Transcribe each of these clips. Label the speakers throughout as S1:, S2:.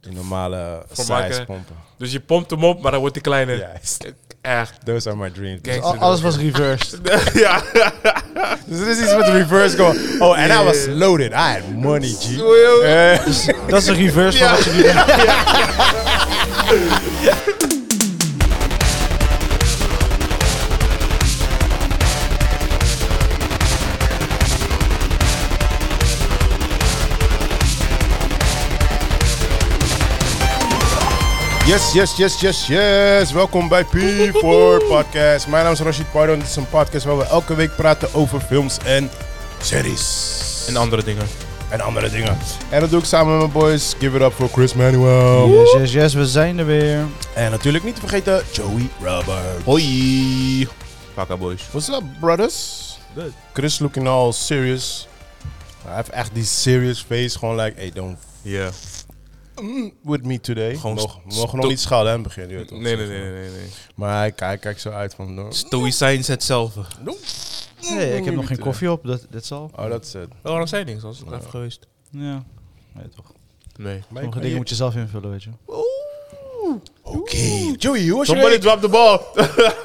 S1: Die normale
S2: Voor
S1: size
S2: maken.
S1: pompen.
S2: Dus je pompt hem op, maar dan wordt hij kleiner.
S1: Juist.
S2: Echt.
S1: Those are my dreams. Oh,
S2: Kijk.
S1: Dus,
S2: Al-
S3: alles was reversed.
S2: ja.
S1: dus dit is iets met reverse going. Oh, and I was loaded. I had money, G. Eh,
S3: dat is een reverse van wat je doet.
S1: Yes, yes, yes, yes, yes. Welkom bij P4 Podcast. Mijn naam is Rashid Pardon. Dit is een podcast waar we elke week praten over films en series.
S2: En andere dingen.
S1: en andere dingen. En dat doe ik samen met mijn boys. Give it up voor Chris Manuel.
S3: Yes, yes, yes, we zijn er weer.
S1: En natuurlijk niet te vergeten Joey Robert.
S2: Hoi. Paka boys.
S1: What's up, brothers?
S2: Good.
S1: Chris looking all serious. Hij heeft echt die serious face. Gewoon like, hey, don't
S2: Ja.
S1: f- with me today.
S2: Gewoon
S1: Mogen-
S2: st-
S1: we mogen nog
S2: sto-
S1: niet schelden aan het begin. je weet toch?
S2: Nee, nee, nee, nee, nee.
S1: Maar hij kijkt, kijkt zo uit van... no.
S2: Stoïcijns hetzelfde.
S3: Nee, ik heb nog geen koffie op, dat, dit zal.
S1: Oh, dat is het.
S2: Oh, waarom zei je niks? Anders was ik even geweest.
S3: Ja. Nee, toch.
S2: Nee.
S3: Sommige dingen moet je zelf invullen, weet je.
S1: Oké. Joey, hoe was je
S2: Somebody
S1: week?
S2: drop the ball.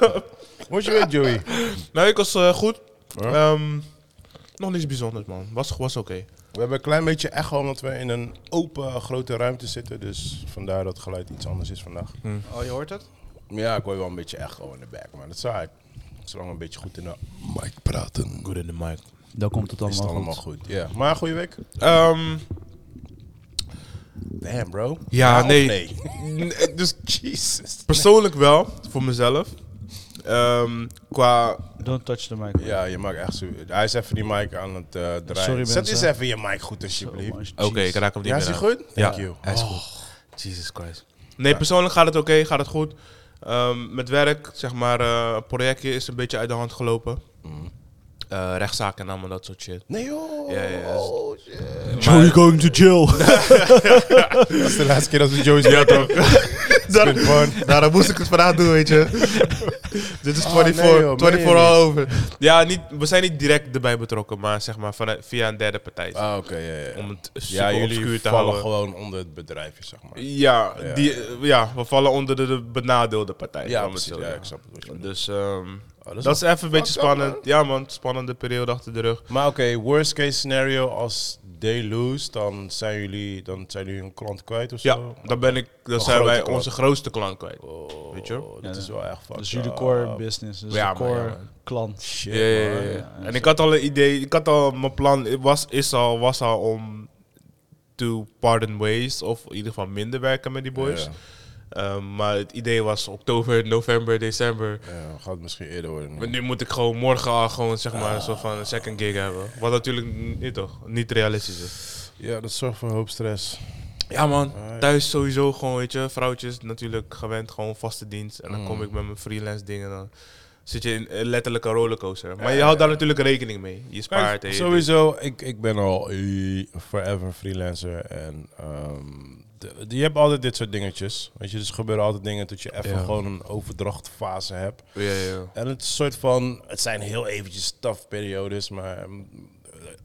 S1: Hoe was je week, Joey?
S2: nou, ik was eh, goed.
S1: Ja.
S2: Ehm, nog niets bijzonders, man. Was, was oké.
S1: We hebben een klein beetje echo omdat we in een open grote ruimte zitten. Dus vandaar dat het geluid iets anders is vandaag.
S3: Oh, je hoort het?
S1: Ja, ik hoor wel een beetje echo in de back. Maar dat is uit. Zolang we een beetje goed in de mic praten.
S2: Good in the mic.
S3: Dan komt het
S1: Is het
S3: allemaal,
S1: allemaal
S3: goed.
S1: goed. Ja. Maar goede week.
S2: Ehm,
S1: Damn, bro.
S2: ja,
S1: of
S2: nee.
S1: nee?
S2: Nee, Dus persoonlijk wel, voor mezelf. Ehm, qua...
S3: Don't touch the mic.
S1: Ja, je maakt echt zo. Hij is even die mic aan het eh, draaien.
S3: Sorry,
S1: Zet
S3: mensen.
S1: eens even je mic goed, alsjeblieft.
S2: raak hem
S1: ja, is die goed? Thank
S2: Ja,
S1: you.
S2: hij is goed.
S1: Jesus Christ.
S2: Nee, persoonlijk gaat het oké, gaat het goed. Ehm, met werk, zeg maar, eh, het projectje is een beetje uit de hand gelopen.
S1: Mhm.
S2: Eh, rechtszaken en allemaal dat soort shit.
S1: Nee, joh.
S2: Ja, ja, ja.
S1: Oh, shit.
S3: Joey going to jail.
S1: Dat is de laatste keer dat we Joey's ja, toch?
S2: Daar, daarom moest ik het vandaag doen, weet je. Dit is
S1: Ah,
S2: 24,
S1: nee, joh,
S2: 24
S1: meen je
S2: all over. Ja, niet, we zijn niet direct erbij betrokken, maar zeg maar vanuit, via een derde partij.
S1: Ah, oké, ja, ja.
S2: om het
S1: Ja,
S2: super
S1: jullie
S2: obscuur te
S1: vallen
S2: houden.
S1: gewoon onder het bedrijfje, zeg maar.
S2: Ja,
S1: Ja.
S2: Die, eh, ja, we vallen onder de, de benadeelde partij.
S1: Ja,
S2: laat maar
S1: precies.
S2: zo
S1: Ja,
S2: zeggen.
S1: ik snap het. wat je bedoelt.
S2: Dus ehm,
S1: Oh,
S2: dat,
S1: dat is
S2: is even een beetje
S1: fucked up,
S2: spannend. ja man, spannende periode achter de rug.
S1: maar oké, worst case scenario, als they lose, dan zijn jullie, dan zijn jullie hun klant kwijt of
S2: Ja,
S1: zo?
S2: dan, ben ik, dan
S1: Een
S2: zijn wij
S1: grote klant.
S2: onze grootste klant kwijt.
S1: Oh,
S2: Weet je?
S1: Dat
S3: Ja.
S1: is wel echt fucked
S3: Dat is jullie
S1: up.
S3: core business, dus
S2: Ja,
S3: de core
S2: maar ja, man.
S3: klant.
S1: Shit,
S2: Ja, ja, ja,
S1: man.
S2: ja.
S3: ja,
S2: En ik had al een idee, ik had al mijn plan, het was, is al, was al om to pardon ways, of in ieder geval minder werken met die boys.
S1: Ja,
S2: Ehm, maar het idee was oktober, november, december.
S1: ja, gaat misschien eerder worden.
S2: Maar nu moet ik gewoon morgen al gewoon zeg maar een soort van een second gig hebben. Wat natuurlijk niet, toch, niet realistisch is. Ah,
S1: Ja, dat zorgt voor een hoop stress.
S2: Ja man,
S1: Alright.
S2: thuis sowieso gewoon, weet je, vrouwtjes natuurlijk gewend, gewoon vaste dienst. En dan kom ik met mijn freelance dingen, dan zit je in eh, letterlijk een rollercoaster. Maar je houdt daar natuurlijk rekening mee. Je spaart. en je-
S1: sowieso, ik, ik ben al eh, forever freelancer en ehm, de- de- je hebt altijd dit soort dingetjes. Weet je, dus er gebeuren altijd dingen dat je even
S2: Ja.
S1: gewoon een overdrachtfase hebt.
S2: Ja, ja.
S1: En het is een soort van, het zijn heel eventjes tough periodes, maar mm,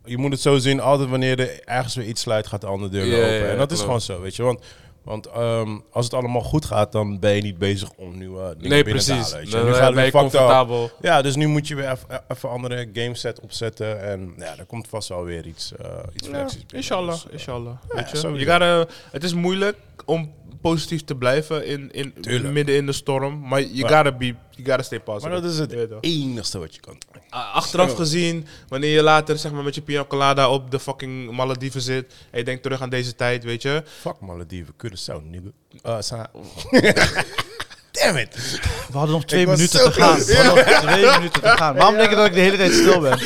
S1: je moet het zo zien, altijd wanneer er ergens weer iets sluit, gaat de andere deur weer
S2: Ja,
S1: open.
S2: ja,
S1: en dat is
S2: klopt.
S1: gewoon zo, weet je. Want, want ehm, als het allemaal goed gaat, dan ben je niet bezig om nieuwe dingen
S2: Nee,
S1: binnen te
S2: precies.
S1: halen, weet je.
S2: Dan
S1: Nu
S2: eh,
S1: gaat het
S2: ben je
S1: weer fucked up.
S2: comfortabel.
S1: Ja, dus nu moet je weer even- even andere gameset opzetten. En ja, er komt vast wel weer iets, eh iets
S2: Ja,
S1: flexies binnen.
S2: inshallah,
S1: Dus, eh,
S2: inshallah.
S1: ja,
S2: Weet je?
S1: sowieso.
S2: Je gotta- het is moeilijk om positief te blijven in, in
S1: Tuurlijk.
S2: midden in de storm, maar you
S1: Ja.
S2: gotta be, you gotta stay
S1: maar
S2: positive.
S1: dat is
S2: Je weet toch.
S1: het enigste wat je kan doen.
S2: A- Achteraf gezien, wanneer je later zeg maar, met je pina colada op de fucking Malediven zit en je denkt terug aan deze tijd, weet je.
S1: Fuck Malediven, Curaçao, nigga. Eh, Sa- Damn it!
S3: We hadden nog twee
S1: was
S3: minuten
S1: zo
S3: te gaan.
S1: close.
S3: We hadden nog twee minuten te gaan. Waarom denk je dat ik de hele tijd stil ben?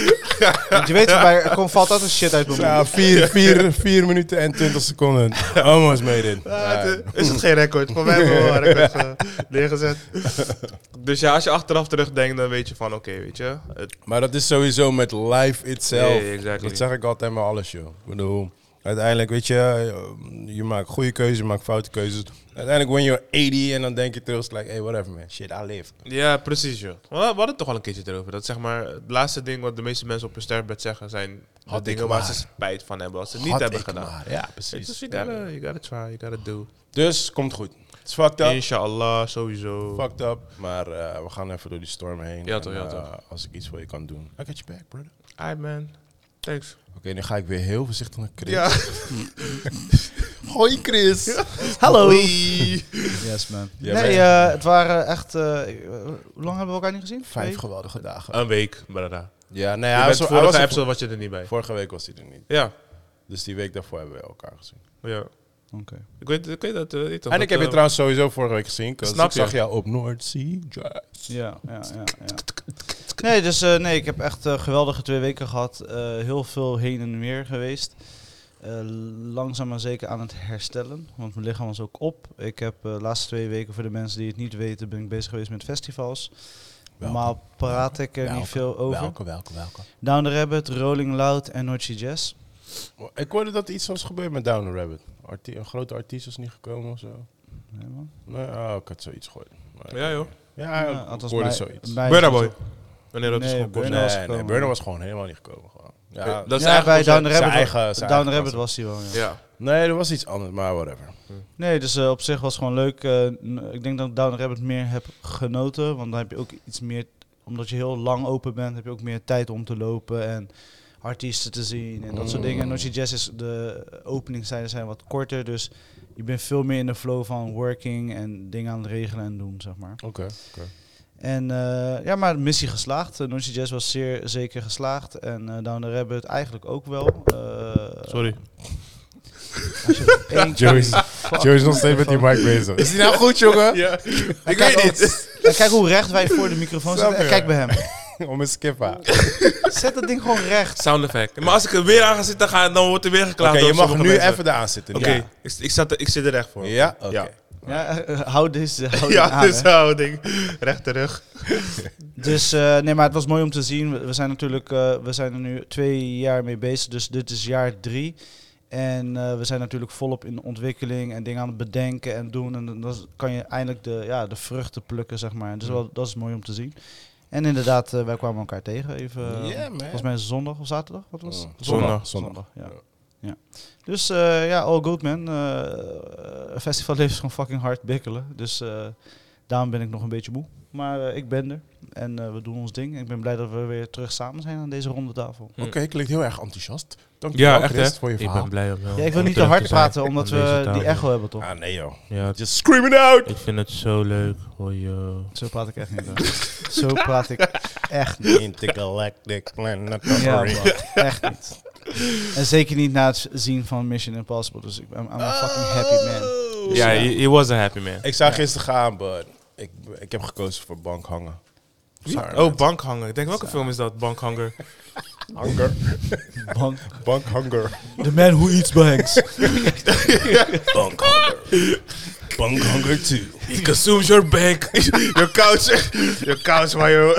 S3: Want je weet van mij, er komt, valt altijd shit uit mijn mond.
S1: Ja, 4 vier, vier minuten en 20 seconden. Almost made it. Ja.
S2: Is het geen record? Voor mij wel een record eh, neergezet. dus ja, als je achteraf terugdenkt, dan weet je van oké, weet je. Het,
S1: Maar dat is sowieso met life itself.
S2: Yeah, exactly.
S1: Dat zeg ik altijd met alles, joh. Ik bedoel, uiteindelijk, weet je, eh, je maakt goede keuzes, je maakt foute keuzes. Uiteindelijk when you're 80 en dan denk je terug, it's like, hey, whatever man, shit, I live.
S2: ja, precies joh. We we hadden het toch al een keertje erover. Dat zeg maar, het laatste ding wat de meeste mensen op hun sterfbed zeggen zijn Had
S1: Had ik
S2: dingen waar ze
S1: maar.
S2: spijt van hebben, als ze het
S1: Had
S2: niet hebben
S1: ik
S2: gedaan.
S1: maar. Ja,
S2: Dus
S1: precies.
S2: you gotta, you gotta try, you gotta do.
S1: Dus komt goed. Het is fucked up.
S2: Inshallah, sowieso.
S1: Fucked up. Maar eh, we gaan even door die storm heen.
S2: Ja, toch, ja,
S1: eh,
S2: toch.
S1: Als ik iets voor je kan doen. I got you back, brother.
S2: Hi man, thanks.
S1: Oké, nu ga ik weer heel voorzichtig naar Chris.
S2: Ja.
S1: Hoi Chris.
S3: Hallo.
S2: Hoi.
S3: Yes, man.
S1: Ja,
S3: nee,
S1: man.
S3: eh, het waren echt... eh, eh, hoe lang hebben we elkaar niet gezien?
S1: Vijf
S3: Twee?
S1: geweldige dagen.
S2: Een week, brada.
S1: ja, nee,
S2: Ja,
S1: hij was,
S2: bent
S1: hij
S2: vorige
S1: was er-
S2: episode was je er niet bij.
S1: vorige week was hij er niet.
S2: Ja,
S1: Dus die week daarvoor hebben we elkaar gezien.
S2: ja.
S3: Oké.
S2: Ik weet, ik weet dat. eh, weet toch
S1: en
S2: dat,
S1: ik heb je
S2: eh,
S1: trouwens sowieso vorige week gezien. 'cause
S2: Snap
S1: ik
S2: je.
S1: zag jou op Noordzee. Jazz.
S3: Ja, ja, ja, ja. Nee, dus eh, nee, ik heb echt eh, geweldige twee weken gehad. Eh, heel veel heen en weer geweest. Eh, langzaam maar zeker aan het herstellen, want mijn lichaam was ook op. Ik heb eh, de laatste twee weken, voor de mensen die het niet weten, ben ik bezig geweest met festivals.
S1: Welke?
S3: Normaal praat ik er
S1: Welke?
S3: niet veel over.
S1: Welke, welke, welke?
S3: Down the Rabbit, Rolling Loud en Nochi Jazz.
S1: Ik hoorde dat er iets was gebeurd met Down the Rabbit. Arti- een grote artiest was niet gekomen of zo.
S3: Nee, man.
S1: Nee, oh, ik had zoiets gehoord. Maar-
S2: Ja, joh.
S1: Ja,
S3: Ja,
S1: ik
S3: althans
S1: hoorde
S3: mij-
S1: zoiets.
S3: mij-
S2: Burna Boy. Wanneer dat
S3: Nee,
S2: is gewoon
S3: Burna-
S2: kort.
S3: was
S1: nee, nee,
S3: gekomen. Eh,
S1: Burner was gewoon helemaal niet gekomen. Gewoon. Ja,
S2: Dat is
S3: ja, bij
S2: eigenlijk
S3: Down the
S1: zijn
S3: Rabbit,
S1: eigen-
S3: was,
S1: zijn
S3: Down the
S1: eigen
S3: Rabbit was hij wel, ja.
S2: Ja.
S1: Nee, er was iets anders, maar whatever.
S3: Nee, dus eh, op zich was het gewoon leuk. Eh, n- ik denk dat ik Down the Rabbit meer heb genoten. Want dan heb je ook iets meer... Omdat je heel lang open bent, heb je ook meer tijd om te lopen. En artiesten te zien en dat soort dingen. En Nochi Jazz is... De openingstijden zijn wat korter. Dus je bent veel meer in de flow van working en dingen aan het regelen en doen, zeg maar.
S1: Oké. oké.
S3: En eh, ja, maar missie geslaagd. Uh, Jazz was zeer zeker geslaagd. En eh Down the Rabbit eigenlijk ook wel. Eh,
S2: Sorry.
S3: als je één-
S1: Joey is- Joe is nog steeds met die mic bezig. Is die nou goed, jongen?
S2: Ja. Ik
S3: kijk
S2: weet
S3: ook-
S2: niet.
S3: En kijk hoe recht wij voor de microfoon
S1: Snap
S3: zitten. En
S1: je?
S3: kijk bij hem.
S1: Om een skippa.
S3: Zet dat ding gewoon recht.
S2: Sound effect. Maar als ik er weer aan ga zitten, ga, dan wordt er weer
S1: Oké,
S2: geklaagd.
S1: je
S2: door
S1: mag
S2: sommige
S1: nu
S2: mensen.
S1: even eraan zitten.
S2: Oké, ik, ik, zat er- ik zit er echt voor.
S1: Ja, ja? oké.
S2: Ja.
S3: Ja, eh, hou deze hou die
S2: Ja, dus-
S3: aan,
S2: dit is
S3: hè.
S2: houding. Rechter rug.
S3: Dus eh, nee, maar het was mooi om te zien. We- We zijn natuurlijk eh, we zijn er nu twee jaar mee bezig. Dus dit is jaar drie. En eh, we zijn natuurlijk volop in ontwikkeling en dingen aan het bedenken en doen. En dan- dan kan je eindelijk de, ja, de vruchten plukken, zeg maar. Dus wel, dat is mooi om te zien. En inderdaad, eh, wij kwamen elkaar tegen even. eh,
S1: Yeah, man.
S3: Volgens mij zondag of zaterdag, wat was
S1: Mm.
S3: het?
S2: Oh, Zondag.
S1: Zondag.
S3: ja. ja. Dus eh, ja, all good man. Eh, eh, festival leeft gewoon fucking hard bikkelen. Dus eh, daarom ben ik nog een beetje moe. Maar eh, ik ben er en eh, we doen ons ding. Ik ben blij dat we weer terug samen zijn aan deze ronde tafel.
S1: Oké, klinkt heel erg enthousiast. Dankjewel,
S2: Ja, echt
S1: Chris,
S2: hè.
S1: voor je
S2: Ik
S1: verhaal.
S2: ben blij om jou.
S3: Ja, ik wil niet te
S2: terug
S3: hard
S2: zijn
S3: praten, omdat
S2: aan deze
S3: we die
S2: tafel.
S3: echo hebben toch?
S1: ah, nee, joh.
S2: Ja,
S1: Just scream it out!
S2: ik vind het zo leuk. Hoor je.
S3: Zo praat ik echt niet. hoor. Zo praat ik echt niet.
S1: Intergalactic planet.
S3: Ja, man, echt niet. En zeker niet na het zien van Mission Impossible. Dus ik ben I'm a fucking happy man.
S2: Ja,
S3: Ja.
S2: he, he was a happy man.
S1: Ik zou gisteren gaan, maar ik, ik heb gekozen voor bank hangen. Sorry,
S2: Oh,
S1: man.
S2: Bankhanger. Ik denk, welke film is dat? Bankhanger.
S1: Hunger.
S3: Bank.
S1: Bank hunger.
S3: The man who eats banks.
S1: Bank hunger. Bank hunger 2.
S2: He consumes your bank. your couch. your couch, maar joh.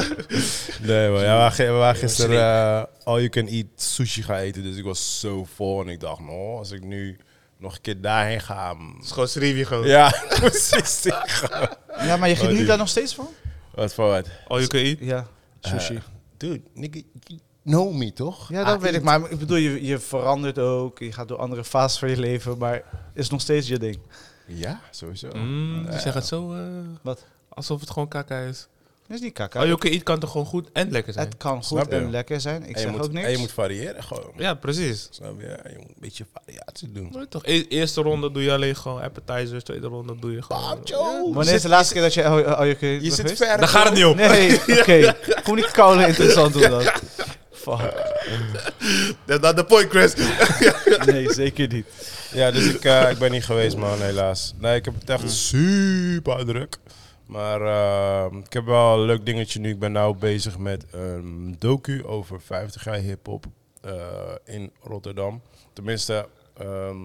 S1: Nee, maar ja, we waren gi- we waren gisteren eh, all you can eat sushi gaan eten. Dus ik was zo vol. En ik dacht, nou, als ik nu nog een keer daarheen ga... mm,
S2: is gewoon Srivi gewoon.
S1: Ja, precies. die gaan-
S3: Ja, maar je
S1: Oh,
S3: geniet
S1: die.
S3: daar nog steeds van?
S1: Wat voor wat? Eh,
S2: All you can eat.
S3: Ja, sushi.
S1: Dude, nigga, you know me, toch? Ah,
S3: ja, dat weet ik. Maar ik bedoel, je, je verandert ook. Je gaat door andere fases van je leven. Maar is nog steeds je ding.
S1: Ja, sowieso.
S2: Mm, je zegt het zo... eh,
S3: Wat?
S2: Alsof het gewoon kaka is.
S3: Dat is niet kaka.
S1: Oh,
S2: All you can eat kan toch gewoon goed en lekker zijn?
S3: het kan
S1: Snap
S3: goed
S1: je?
S3: en lekker zijn. Ik
S1: en je
S3: zeg
S1: moet,
S3: ook niks.
S1: En je moet variëren gewoon.
S2: Ja, precies.
S1: Snap je? En Je moet een beetje variatie doen.
S2: Nooit toch? E- eerste ronde doe je alleen gewoon appetizers. Tweede ronde doe je gewoon...
S1: Bam, Joe!
S3: Wanneer is de laatste keer dat je... Oh, oh, je, kunt-
S1: Je zit
S3: geweest?
S1: ver.
S2: Daar gaat het niet om.
S3: Nee, oké. Gewoon niet koude interessant doen dan. Fuck.
S2: Dat dat de point, Chris.
S3: Nee, zeker niet.
S1: Ja, dus ik, eh, ik ben niet geweest, man, helaas. Nee, ik heb het echt super druk. Maar eh, ik heb wel een leuk dingetje nu. Ik ben nou bezig met een docu over 50 jaar hip-hop eh, in Rotterdam. Tenminste, ehm,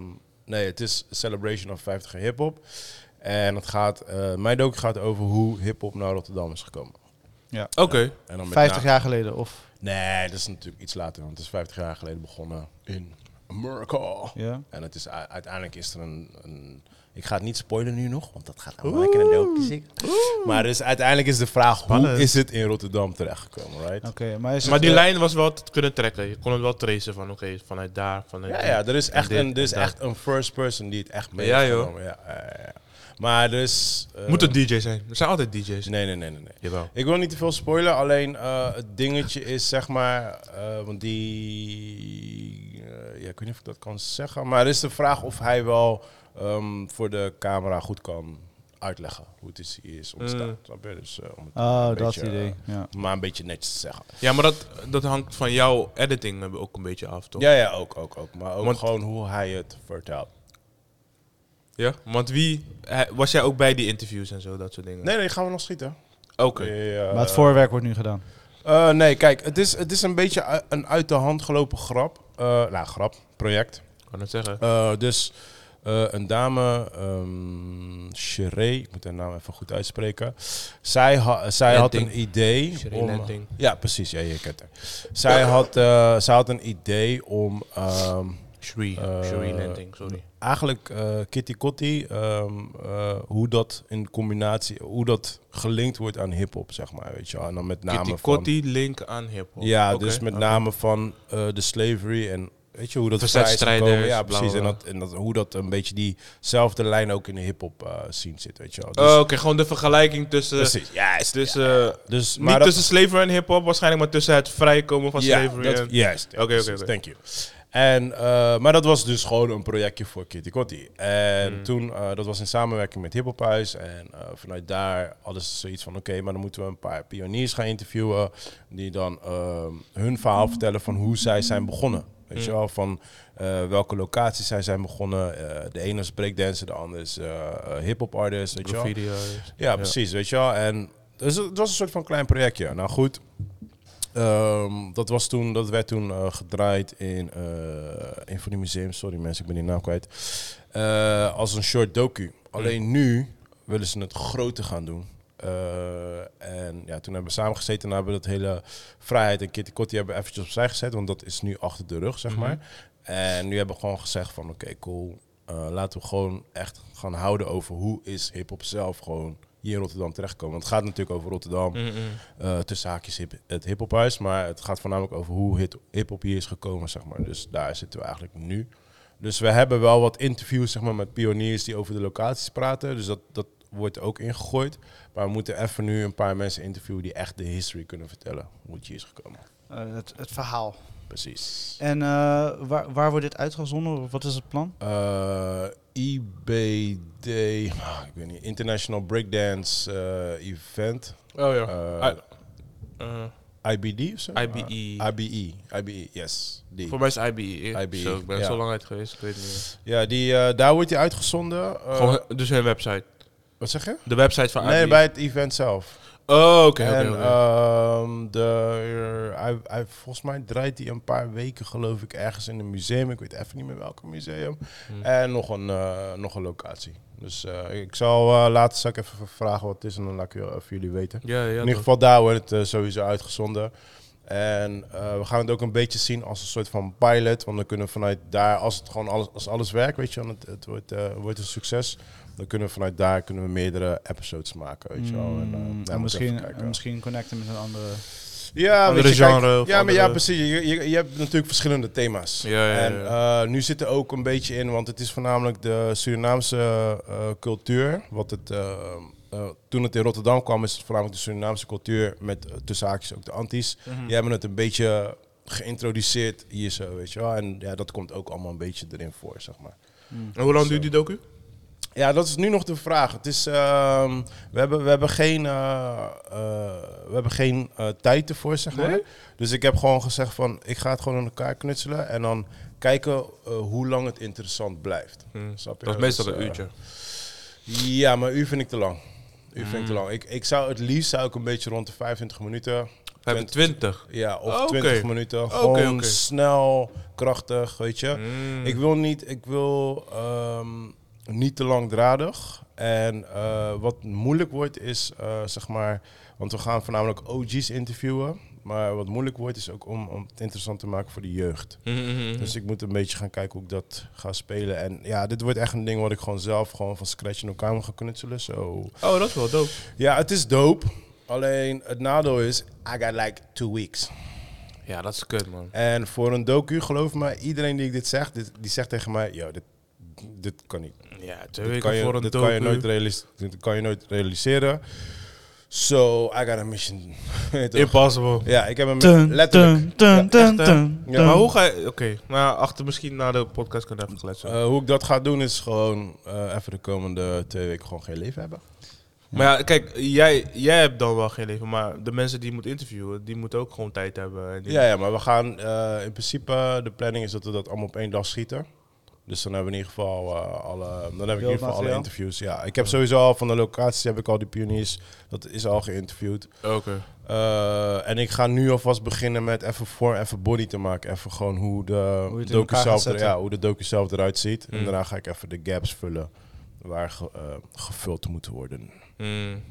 S1: nee, het is Celebration of 50 jaar hip-hop. En het gaat, eh, mijn docu gaat over hoe hip-hop naar Rotterdam is gekomen.
S2: Oké.
S1: En dan met
S3: 50
S1: na-
S3: jaar geleden of...
S1: Nee, dat is natuurlijk iets later, want het is 50 jaar geleden begonnen in Amerika.
S3: Ja.
S1: En het is, u- uiteindelijk is er een, een Ik ga het niet spoilen nu nog, want dat gaat allemaal lekker een doopje zingen. Maar dus uiteindelijk is de vraag,
S2: Spannend.
S1: hoe is het in Rotterdam terechtgekomen, right?
S3: maar is
S2: Maar die
S3: eh,
S2: lijn was wel te kunnen trekken. Je kon het wel tracen van, oké, vanuit daar, vanuit
S1: Ja,
S2: daar.
S1: ja, er is echt,
S2: dit
S1: een, er is
S2: en dat.
S1: echt een first person die het echt mee
S2: Ja,
S1: heeft
S2: joh.
S1: genomen. Ja, ja, ja, ja. Maar dus... eh,
S2: Moet een DJ zijn. Er zijn altijd DJ's.
S1: Nee, nee, nee, nee. nee.
S2: Jawel.
S1: Ik wil niet te veel spoilen, alleen eh, het dingetje is zeg maar, eh, want die, eh, ja, ik weet niet of ik dat kan zeggen, maar er is de vraag of hij wel ehm, voor de camera goed kan uitleggen hoe het is, hier is ontstaan.
S2: Mm.
S1: Snap je? Dus, eh, om het
S3: Oh,
S1: een
S3: dat
S1: beetje,
S3: idee. Ja.
S1: eh, maar een beetje netjes te zeggen.
S2: Ja, maar dat, dat hangt van jouw editing eh, ook een beetje af, toch?
S1: Ja, ja, ook, ook, ook. Maar ook
S2: Want-
S1: gewoon hoe hij het vertelt.
S2: Ja? Want wie... hij- Was jij ook bij die interviews en zo, dat soort dingen?
S1: Nee, nee, gaan we nog schieten.
S2: Oké.
S1: Ja,
S3: Maar het voorwerk wordt nu gedaan.
S1: Eh, nee, kijk, het is, het is een beetje u- een uit de hand gelopen grap. Eh, nou, grap, project.
S2: Ik kan het zeggen.
S1: Eh, dus eh, een dame, ehm Sheree, ik moet haar naam even goed uitspreken. Zij, ha- zij had
S2: Lenting.
S1: een idee.
S2: Sheree
S1: om,
S2: Lenting.
S1: ja, precies, ja, je kent haar. Zij had, eh, zij had een idee om ehm,
S2: Sheree.
S1: eh,
S2: Sheree Lenting, sorry.
S1: eigenlijk eh Kitty Kotti, ehm, eh, hoe dat in combinatie, hoe dat gelinkt wordt aan hip-hop, zeg maar. Weet je, wel. en dan met name.
S2: Kitty
S1: van-
S2: Kotti, link aan hiphop.
S1: Ja,
S2: Oké.
S1: dus met
S2: Oké.
S1: name van eh, de slavery en weet je hoe dat
S2: Verzet
S1: vrij is
S2: strijders,
S1: gekomen. Ja,
S2: bla,
S1: precies.
S2: bla,
S1: En, dat,
S2: bla.
S1: en dat, hoe dat een beetje diezelfde lijn ook in de hip-hop eh, scene zit, weet je wel. Dus,
S2: Oh, Oké, gewoon de vergelijking tussen...
S1: precies. Ja, is-
S2: Dus, eh,
S1: dus
S2: niet tussen slavery en hip-hop waarschijnlijk, maar tussen het vrijkomen van
S1: ja,
S2: slavery
S1: dat-
S2: en...
S1: Juist. ja,
S2: Oké, oké,
S1: precies.
S2: oké.
S1: Thank you. En, eh, maar dat was dus gewoon een projectje voor Kitty Kotti. En
S2: Hmm.
S1: toen, eh, dat was in samenwerking met Hip Hop Huis. En eh, vanuit daar hadden ze zoiets van... oké, maar dan moeten we een paar pioniers gaan interviewen... die dan ehm, hun verhaal vertellen van hoe zij zijn begonnen. Weet
S2: Hmm.
S1: je wel, van eh, welke locaties zij zijn begonnen. Eh, de ene is breakdancer, de ander is eh hip-hop artist, weet je wel.
S2: Video's.
S1: Ja, precies, weet je wel. En dus het was een soort van klein projectje. Nou goed, ehm, dat, was toen, dat werd toen eh, gedraaid in eh, een van die museums. Sorry mensen, ik ben die naam kwijt. Eh, als een short docu. Alleen nu willen ze het groter gaan doen. Eh, en ja, toen hebben we samen gezeten en hebben we dat hele vrijheid en Kitty Kotti hebben we eventjes opzij gezet. Want dat is nu achter de rug, zeg maar. En nu hebben we gewoon gezegd van oké, cool. eh, laten we gewoon echt gaan houden over hoe is hip-hop zelf gewoon hier in Rotterdam terechtkomen. Want het gaat natuurlijk over Rotterdam, eh, tussen haakjes hip, het hiphophuis. Maar het gaat voornamelijk over hoe hit- hiphop hier is gekomen, zeg maar. Dus daar zitten we eigenlijk nu. Dus we hebben wel wat interviews zeg maar, met pioniers die over de locaties praten. Dus dat, dat wordt ook ingegooid. Maar we moeten even nu een paar mensen interviewen die echt de history kunnen vertellen. Hoe het hier is gekomen.
S3: Eh, het, het verhaal.
S1: Precies.
S3: En eh, waar, waar wordt dit uitgezonden? Wat is het plan?
S1: Eh, IBD, ah, ik weet niet, International Breakdance eh, Event.
S2: Oh ja.
S1: Eh,
S2: Eh, I- eh,
S1: IBD of zo?
S4: E.
S2: IBE.
S1: Ah, IBE, IBE, yes. Die.
S2: E. Voor mij is IBE.
S1: IBE,
S2: IBE. Zo, ik ben
S1: E, ja.
S2: zo lang uit geweest, ik weet het niet.
S1: Ja, die, eh, daar wordt hij uitgezonden. Eh,
S2: Gewoon, dus hun website.
S1: wat zeg je?
S2: De website van
S1: Nee,
S4: E.
S2: IBE.
S1: bij het event zelf.
S2: Oh, oké, oké,
S1: en
S2: oké.
S1: ehm, de, hij, hij, volgens mij draait hij een paar weken, geloof ik, ergens in een museum. Ik weet even niet meer welk museum.
S2: Hmm.
S1: En nog een, eh, nog een locatie. Dus eh, ik zal eh, later zal ik even vragen wat het is en dan laat ik je- even jullie weten.
S2: Ja, ja.
S1: In ieder
S2: toch.
S1: geval daar wordt het eh, sowieso uitgezonden. En eh, we gaan het ook een beetje zien als een soort van pilot. Want dan kunnen we vanuit daar, als het gewoon alles, als alles werkt, weet je, en het, het wordt, eh, wordt een succes. Dan kunnen we vanuit daar kunnen we meerdere episodes maken, weet je wel. En, eh, ja,
S3: Mm,
S1: moet
S3: en
S1: even
S3: misschien,
S1: kijken.
S3: en misschien connecten met een andere.
S1: Ja,
S2: Andere
S1: weet je, kijk,
S2: genre of
S1: ja, maar ja,
S2: andere-
S1: precies. Je, je, je hebt natuurlijk verschillende thema's.
S2: Ja, ja, ja,
S1: en eh, nu zit er ook een beetje in, want het is voornamelijk de Surinaamse eh, cultuur. Wat het, eh, eh, toen het in Rotterdam kwam, is het voornamelijk de Surinaamse cultuur met eh, tussen haakjes ook de antis.
S2: Mhm.
S1: Die hebben het een beetje geïntroduceerd hier zo, weet je wel. En ja, dat komt ook allemaal een beetje erin voor, zeg maar.
S2: En hoe lang duurt die docu?
S1: Ja, dat is nu nog de vraag. Het is, ehm, we, hebben, we hebben geen, eh, eh, we hebben geen eh, tijd ervoor, zeg maar. Dus ik heb gewoon gezegd van, ik ga het gewoon aan elkaar knutselen. En dan kijken eh, hoe lang het interessant blijft. Snap je?
S2: Dat is meestal
S1: Dus,
S2: een
S1: eh,
S2: uurtje.
S1: ja, maar u vind ik te lang. U vind ik te lang. Ik, ik zou het liefst zou ik een beetje rond de 25 minuten.
S2: 25.
S1: Ja, of
S2: Oh, oké.
S1: 20 minuten.
S2: Oké,
S1: Gewoon
S2: oké. Mm.
S1: snel, krachtig, weet je. Ik wil niet, ik wil ehm, niet te langdradig. En eh, wat moeilijk wordt is, eh, zeg maar, want we gaan voornamelijk OG's interviewen. Maar wat moeilijk wordt is ook om, om het interessant te maken voor de jeugd.
S2: Mm,
S1: Dus ik moet een beetje gaan kijken hoe ik dat ga spelen. En ja, dit wordt echt een ding wat ik gewoon zelf gewoon van scratch in elkaar moet gaan knutselen. Zo.
S2: Oh, dat is wel dope.
S1: Ja, het is dope. Alleen het nadeel is, I got like two weeks.
S2: Ja, dat is kut, man.
S1: En voor een docu, geloof me, iedereen die ik dit zeg, dit, die zegt tegen mij, yo, dit, dit kan niet.
S2: Ja,
S1: Dit
S2: twee weken
S1: kan je,
S2: voor een
S1: dit
S2: docu.
S1: kan je nooit realis- dit kan je nooit realiseren. So, I got a mission. Weet je toch?
S2: Impossible.
S1: ja, ik heb hem
S3: Dun,
S1: letterlijk. eh,
S3: dun, dun,
S2: Ja, echt,
S3: dun,
S2: hè?
S3: dun,
S1: Ja,
S3: dun.
S2: Maar hoe ga je... Oké, maar achter misschien na de podcast kunnen we even kletsen.
S1: Eh, hoe ik dat ga doen is gewoon eh, even de komende twee weken gewoon geen leven hebben.
S2: Maar ja, kijk, jij, jij hebt dan wel geen leven, maar de mensen die je moet interviewen, die moeten ook gewoon tijd hebben. En die-
S1: Ja, ja maar we gaan eh, in principe, de planning is dat we dat allemaal op één dag schieten. Dus dan hebben we in ieder geval eh, alle, dan heb ik in ieder geval alle
S3: Beeldmateriaal.
S1: interviews. Ja, ik heb sowieso al van de locaties heb ik al die pioniers, dat is al geïnterviewd.
S2: Oké.
S1: Eh, en ik ga nu alvast beginnen met even vorm, even body te maken. Even gewoon hoe de,
S3: Hoe je het in
S1: docu,
S3: elkaar gaat
S1: zelf er,
S3: zetten.
S1: ja, hoe de docu zelf eruit ziet. En
S2: Mm.
S1: daarna ga ik even de gaps vullen waar ge- eh, gevuld moet worden.
S2: Mm.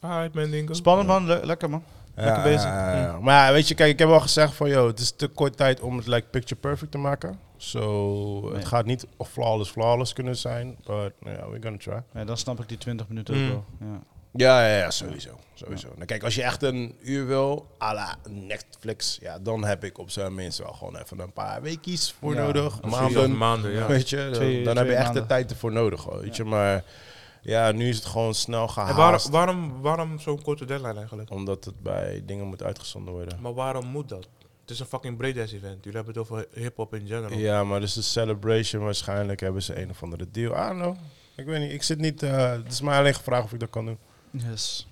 S2: Hi, mijn dingo.
S3: Spannend man, le- lekker man. Lekker bezig.
S1: ja, ja. Mm. Maar ja, weet je, kijk, ik heb al gezegd van, joh, het is te kort tijd om het like picture perfect te maken. So,
S3: Nee.
S1: het gaat niet flawless flawless kunnen zijn, but yeah, we're gonna try.
S3: Ja, dan snap ik die 20 minuten
S2: Mm.
S3: ook wel. Ja.
S1: Ja, ja, ja sowieso. sowieso. Nou, kijk, als je echt een uur wil, à la Netflix, ja, dan heb ik op zijn minst wel gewoon even een paar weekjes voor
S3: Ja,
S1: nodig.
S2: Of sowieso
S1: Maanden,
S2: Maanden, ja.
S1: weet je. Dan,
S3: Twee-
S1: dan heb je
S3: twee
S1: echt de
S3: maanden.
S1: tijd ervoor nodig, hoor, weet je. Maar ja, nu is het gewoon snel gehaald.
S2: En waar, waarom, waarom zo'n korte deadline eigenlijk?
S1: Omdat het bij dingen moet uitgezonden worden.
S2: Maar waarom moet dat? Het is een fucking breakdance event. Jullie hebben het over hip-hop in general.
S1: Ja, maar dus de celebration waarschijnlijk hebben ze een of andere deal. I don't know. Ik weet niet. Ik zit niet. eh, het is mij alleen gevraagd of ik dat kan doen.
S3: Yes.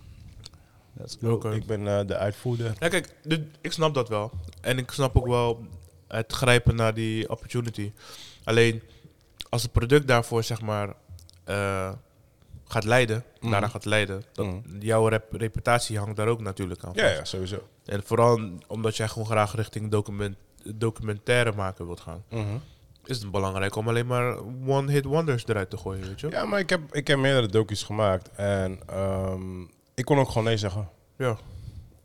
S3: Let's go.
S2: Oké.
S1: Ik ben eh, de uitvoerder.
S2: Ja, kijk, dit- ik snap dat wel. En ik snap ook wel het grijpen naar die opportunity. Alleen, als het product daarvoor, zeg maar, eh, gaat leiden,
S1: Mhm.
S2: daarna gaat leiden, dat
S1: Mhm.
S2: jouw rep- reputatie hangt daar ook natuurlijk aan.
S1: Ja, ja, sowieso.
S2: En vooral omdat jij gewoon graag richting document, documentaire maken wilt gaan,
S1: Mhm.
S2: is het belangrijk om alleen maar one-hit wonders eruit te gooien, weet je?
S1: Ja, maar ik heb, ik heb meerdere docu's gemaakt. En ehm, ik kon ook gewoon nee zeggen.
S2: Ja.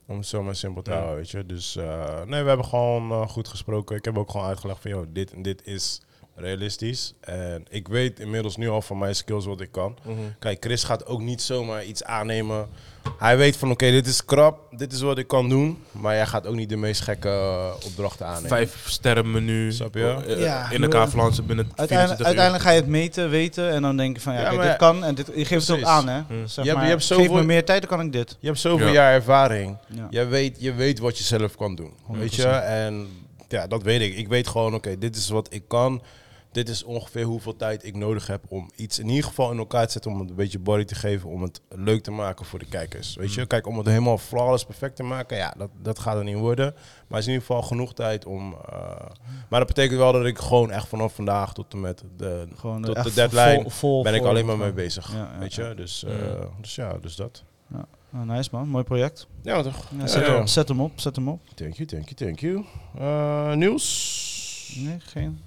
S1: Om het zo maar simpel te
S2: Ja.
S1: houden, weet je. Dus eh, nee, we hebben gewoon eh, goed gesproken. Ik heb ook gewoon uitgelegd van, joh, dit en dit is realistisch. En ik weet inmiddels nu al van mijn skills wat ik kan.
S2: Mhm.
S1: Kijk, Chris gaat ook niet zomaar iets aannemen. Hij weet van, oké, dit is krap, dit is wat ik kan doen. Maar jij gaat ook niet de meest gekke eh, opdrachten aannemen.
S2: Vijf sterren menu,
S1: Snap je?
S2: eh,
S3: Ja.
S2: in elkaar flansen binnen 24
S3: Uiteindelijk,
S2: uur.
S3: uiteindelijk ga je het meten, weten en dan denk je van ja,
S1: Ja,
S3: kijk,
S1: maar
S3: dit
S1: ja,
S3: kan en dit, je geeft het ook
S1: precies.
S3: aan hè.
S2: Mm.
S1: Je
S3: Zeg
S1: hebt-
S3: maar,
S1: je hebt
S3: Geef
S1: zoveel-
S3: me meer tijd, dan kan ik dit.
S1: Je hebt zoveel
S2: Ja.
S1: jaar ervaring.
S3: Ja.
S1: Je weet, je weet wat je zelf kan doen. Weet je? En ja, dat weet ik. Ik weet gewoon, oké, dit is wat ik kan. Dit is ongeveer hoeveel tijd ik nodig heb om iets in ieder geval in elkaar te zetten. Om het een beetje body te geven. Om het leuk te maken voor de kijkers. Weet
S3: Mm.
S1: je? Kijk, om het helemaal flawless perfect te maken. Ja, dat, dat gaat er niet worden. Maar het is in ieder geval genoeg tijd om. eh, maar dat betekent wel dat ik gewoon echt vanaf vandaag tot en met de,
S3: Gewoon
S1: tot
S3: echt
S1: de deadline.
S3: vol- vol
S1: ben ik
S3: voor-
S1: alleen maar mee bezig.
S3: Ja, ja,
S1: weet je? Dus, eh, dus ja, dus dat.
S3: Nou, nice man, mooi project.
S1: Ja, toch?
S3: Ja, zet,
S1: ja.
S3: Hem, zet hem op, zet hem op.
S1: Thank you, thank you, thank you. Eh, nieuws?
S3: Nee, geen.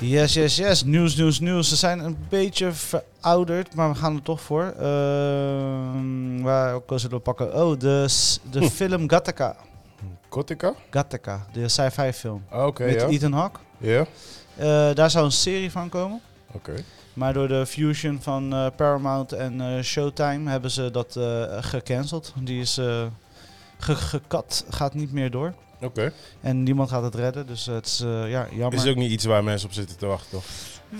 S3: Yes, yes, yes. Nieuws, nieuws, nieuws. Ze zijn een beetje verouderd, maar we gaan er toch voor. Ehm, waar ook al zullen we pakken? Oh, de, s- de film Gattaca.
S1: Kotika?
S3: Gattaca, de sci-fi film.
S1: Ah, Oké,
S3: met
S1: ja.
S3: Ethan Hawke.
S1: Ja,
S3: Eh, daar zou een serie van komen.
S1: oké.
S3: Maar door de fusion van eh, Paramount en eh, Showtime hebben ze dat eh, gecanceld. Die is eh ge- gekat, gaat niet meer door.
S1: Oké.
S3: En niemand gaat het redden, dus het is eh, ja, jammer.
S1: Is het ook niet iets waar mensen op zitten te wachten, toch?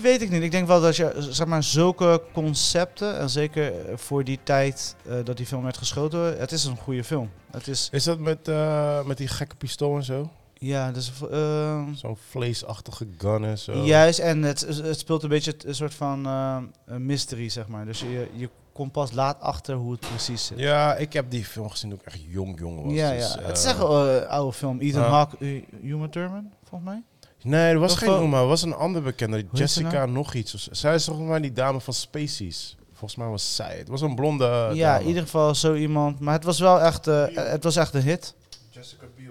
S3: Weet ik niet. Ik denk wel dat je eh, zeg maar, zulke concepten, en zeker eh, voor die tijd eh, dat die film werd geschoten, het is een goede film. Het is,
S1: Is dat met, eh, met die gekke pistool en zo?
S3: ja, dus, eh,
S1: Zo'n vleesachtige gun en zo.
S3: juist. En het, het speelt een beetje t- een soort van eh, een mystery, zeg maar. Dus je, je komt pas laat achter hoe het precies zit.
S1: Ja, ik heb die film gezien toen ik echt jong jong was.
S3: Ja,
S1: dus,
S3: ja. Het is
S1: eh,
S3: echt wel een oude film. Ethan
S1: Ja.
S3: Hawke, eh, Uma Thurman, volgens mij.
S1: Nee, er was
S3: Of
S1: geen
S3: wel-
S1: Uma, er was een andere bekende. die
S3: heet ze nou?
S1: Jessica nog iets. of zo. Zij is volgens mij die dame van Species. Volgens mij was zij. Het was een blonde eh,
S3: ja,
S1: dame.
S3: in ieder geval zo iemand. Maar het was wel echt, eh, het was echt een hit.
S2: Jessica Biel.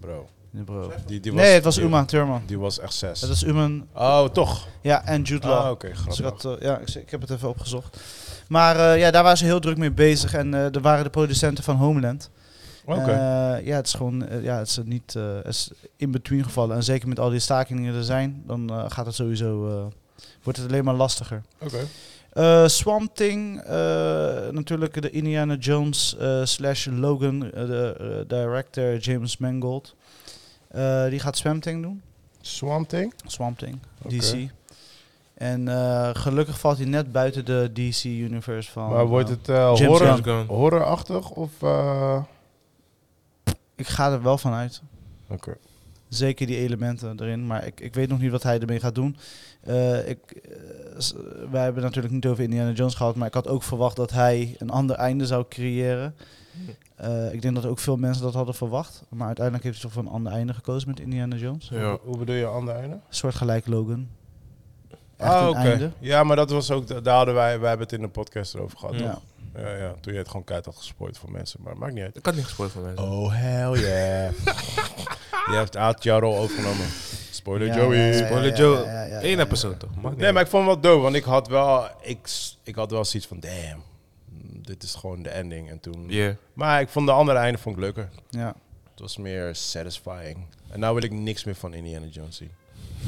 S1: Bro.
S3: Nee, bro.
S1: Die, die
S3: Nee, het was
S1: die-
S3: Uma Thurman.
S1: Die was echt zes.
S3: Het was Uman,
S1: Oh, toch?
S3: ja, en Jude Law.
S1: Ah, oké,
S3: Dus ik,
S1: grappig.
S3: had, eh, ja, ik, ik heb het even opgezocht. Maar eh, ja, daar waren ze heel druk mee bezig. En eh er waren de producenten van Homeland.
S1: Oh, Oké.
S3: Eh, ja, het is gewoon eh, ja, het is niet eh, het is in between gevallen. En zeker met al die stakingen die er zijn, dan eh, gaat het sowieso, eh, wordt het alleen maar lastiger.
S1: Oké.
S3: Eh Swamp Thing, eh, natuurlijk de Indiana Jones eh, slash Logan, eh, de eh, director James Mangold. Eh, die gaat Swamp Thing doen.
S1: Swamp Thing?
S3: Swamp Thing,
S1: Oké.
S3: DC. En eh, gelukkig valt hij net buiten de DC-universe
S2: Oh,
S3: van...
S1: maar wordt
S3: eh,
S1: het eh,
S3: James
S1: horror,
S2: James Gunn.
S1: horrorachtig of... eh,
S3: ik ga er wel van uit.
S1: Oké.
S3: Zeker die elementen erin, maar ik, ik weet nog niet wat hij ermee gaat doen. Eh, ik, eh, s- wij hebben het natuurlijk niet over Indiana Jones gehad, maar ik had ook verwacht dat hij een ander einde zou creëren.
S1: Hm.
S3: Eh, ik denk dat ook veel mensen dat hadden verwacht, maar uiteindelijk heeft hij toch voor een ander einde gekozen met Indiana Jones.
S2: Ja.
S1: Hoe bedoel je ander einde?
S3: Een soort gelijk Logan. Echt
S1: Ah,
S3: een
S1: oké.
S3: einde.
S1: Ja, maar dat was ook, daar hadden wij, wij hebben het in de podcast erover gehad.
S2: Ja.
S1: toch? Ja, ja, toen je het gewoon keihard had gespoord voor mensen, maar maakt niet uit.
S2: Ik had niet gespoord van mensen.
S1: Oh, hell yeah. je hebt Aad jouw rol overgenomen. Spoiler
S3: Ja,
S1: Joey.
S3: ja, ja,
S2: Spoiler
S3: ja,
S2: Joe.
S3: ja, ja, ja,
S2: Eén
S3: ja.
S2: episode toch? Maakt niet
S1: Nee, maar ik vond het wel dope, want ik had wel, ik, s- ik had wel zoiets van, damn, mm, dit is gewoon de ending. En toen,
S2: uit. Yeah.
S1: Maar ik vond de andere einde vond ik leuker.
S3: Ja.
S1: Het was meer satisfying. En nou wil ik niks meer van Indiana Jones zien.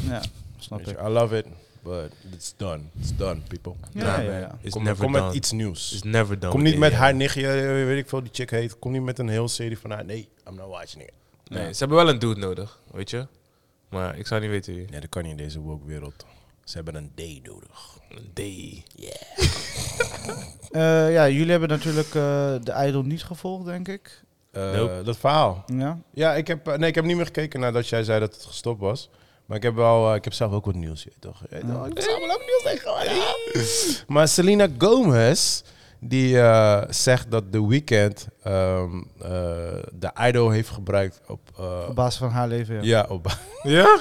S3: ja, snap
S1: Weet
S3: ik.
S1: je, I love it, but it's done. It's done, people.
S3: Ja,
S2: Ja,
S3: ja,
S2: man.
S3: ja.
S2: It's
S1: kom
S2: never
S1: kom
S2: done.
S1: met iets nieuws.
S2: It's never done.
S1: Kom niet
S2: with
S1: met
S2: Indiana.
S1: haar nichtje, eh, weet ik veel, die chick heet. Kom niet met een hele serie van haar. Nee, I'm not watching it.
S2: Nee, ze hebben wel een dude nodig, weet je. Maar ik zou niet weten wie.
S1: Nee, dat kan niet in deze woke wereld. Ze hebben een D nodig.
S2: Een D.
S3: Eh, ja, jullie hebben natuurlijk eh, de Idol niet gevolgd, denk ik.
S1: Eh,
S2: Nope.
S1: Dat verhaal.
S3: Ja.
S1: Ja, ik heb, eh, nee, ik heb niet meer gekeken nadat jij zei dat het gestopt was. Maar ik heb, wel, eh, ik heb zelf ook wat nieuws. Je, weet toch? Je weet toch, Nou, Ik heb zelf wel ook nieuws tegengehouden. Ja. Maar Selena Gomez, die eh, zegt dat The Weeknd ehm, eh, de Idol heeft gebruikt op... eh,
S3: Op basis van haar leven, ja.
S1: ja, op,
S2: Ja?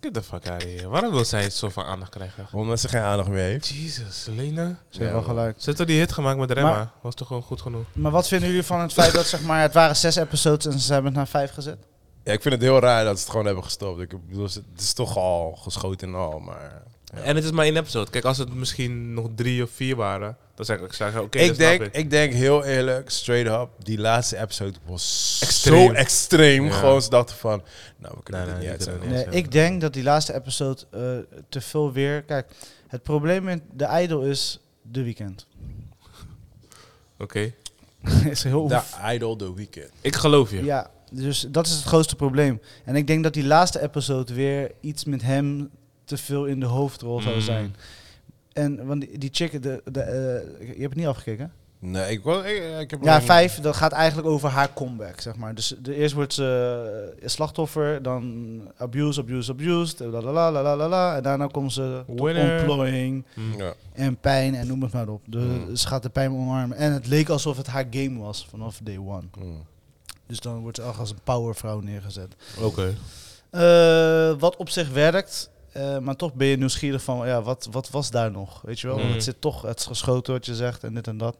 S2: Get the fuck out of here. Waarom wil zij zoveel aandacht krijgen?
S1: omdat ze geen aandacht meer heeft.
S2: Jesus, Lena.
S3: Ze heeft
S1: Ja,
S3: wel
S1: man.
S3: gelijk.
S2: Ze heeft toch die hit gemaakt met Remma?
S3: Maar-
S2: Was toch gewoon goed genoeg?
S3: Maar wat vinden jullie van het feit dat zeg maar, het waren zes episodes en ze hebben het naar vijf gezet?
S1: Ja, ik vind het heel raar dat ze het gewoon hebben gestopt. Ik bedoel, ze- het is toch al geschoten en al, maar... Ja.
S2: En het is maar één episode. Kijk, als het misschien nog drie of vier waren, dan zeg ik, zou ik zeggen, oké, dat
S1: ik, denk,
S2: snap
S1: ik.
S2: ik.
S1: denk heel eerlijk, straight up, die laatste episode was
S2: Extreem.
S1: zo extreem.
S2: Ja.
S1: Gewoon ze dachten van, nou we kunnen
S2: Nee,
S1: dit
S2: nee,
S1: niet
S2: die kunnen
S1: uitzenden.
S2: we niet.
S3: Nee,
S2: zeker.
S3: ik denk dat die laatste episode eh, te veel weer... Kijk, het probleem met de Idol is de weekend.
S2: Oké.
S3: is heel
S1: De Idol The Weeknd.
S2: Ik geloof je.
S3: Ja, dus dat is het grootste probleem. En ik denk dat die laatste episode weer iets met hem te veel in de hoofdrol zou
S2: Mm.
S3: zijn. En want die, die chick, de, de, eh, je hebt het niet afgekeken? hè?
S1: Nee, ik, wil, ik, ik heb
S3: Ja,
S1: alleen-
S3: vijf, dat gaat eigenlijk over haar comeback, zeg maar. Dus de, eerst wordt ze eh, slachtoffer, dan abuse, abuse, abused, la la la la la la la. En daarna komt ze tot
S2: Winner.
S3: ontplooiing
S2: Mm.
S1: Ja.
S3: en pijn en noem het maar op. Dus
S2: Hmm.
S1: Mm.
S3: ze gaat de pijn omarmen. En het leek alsof het haar game was vanaf day one.
S1: Mm.
S3: Dus dan wordt ze echt als een powervrouw neergezet.
S2: Oké.
S3: Eh, wat op zich werkt, eh, maar toch ben je nieuwsgierig van, ja, wat, wat was daar nog? Weet je wel, want
S2: Mm.
S3: het zit toch, het is geschoten wat je zegt en dit en dat.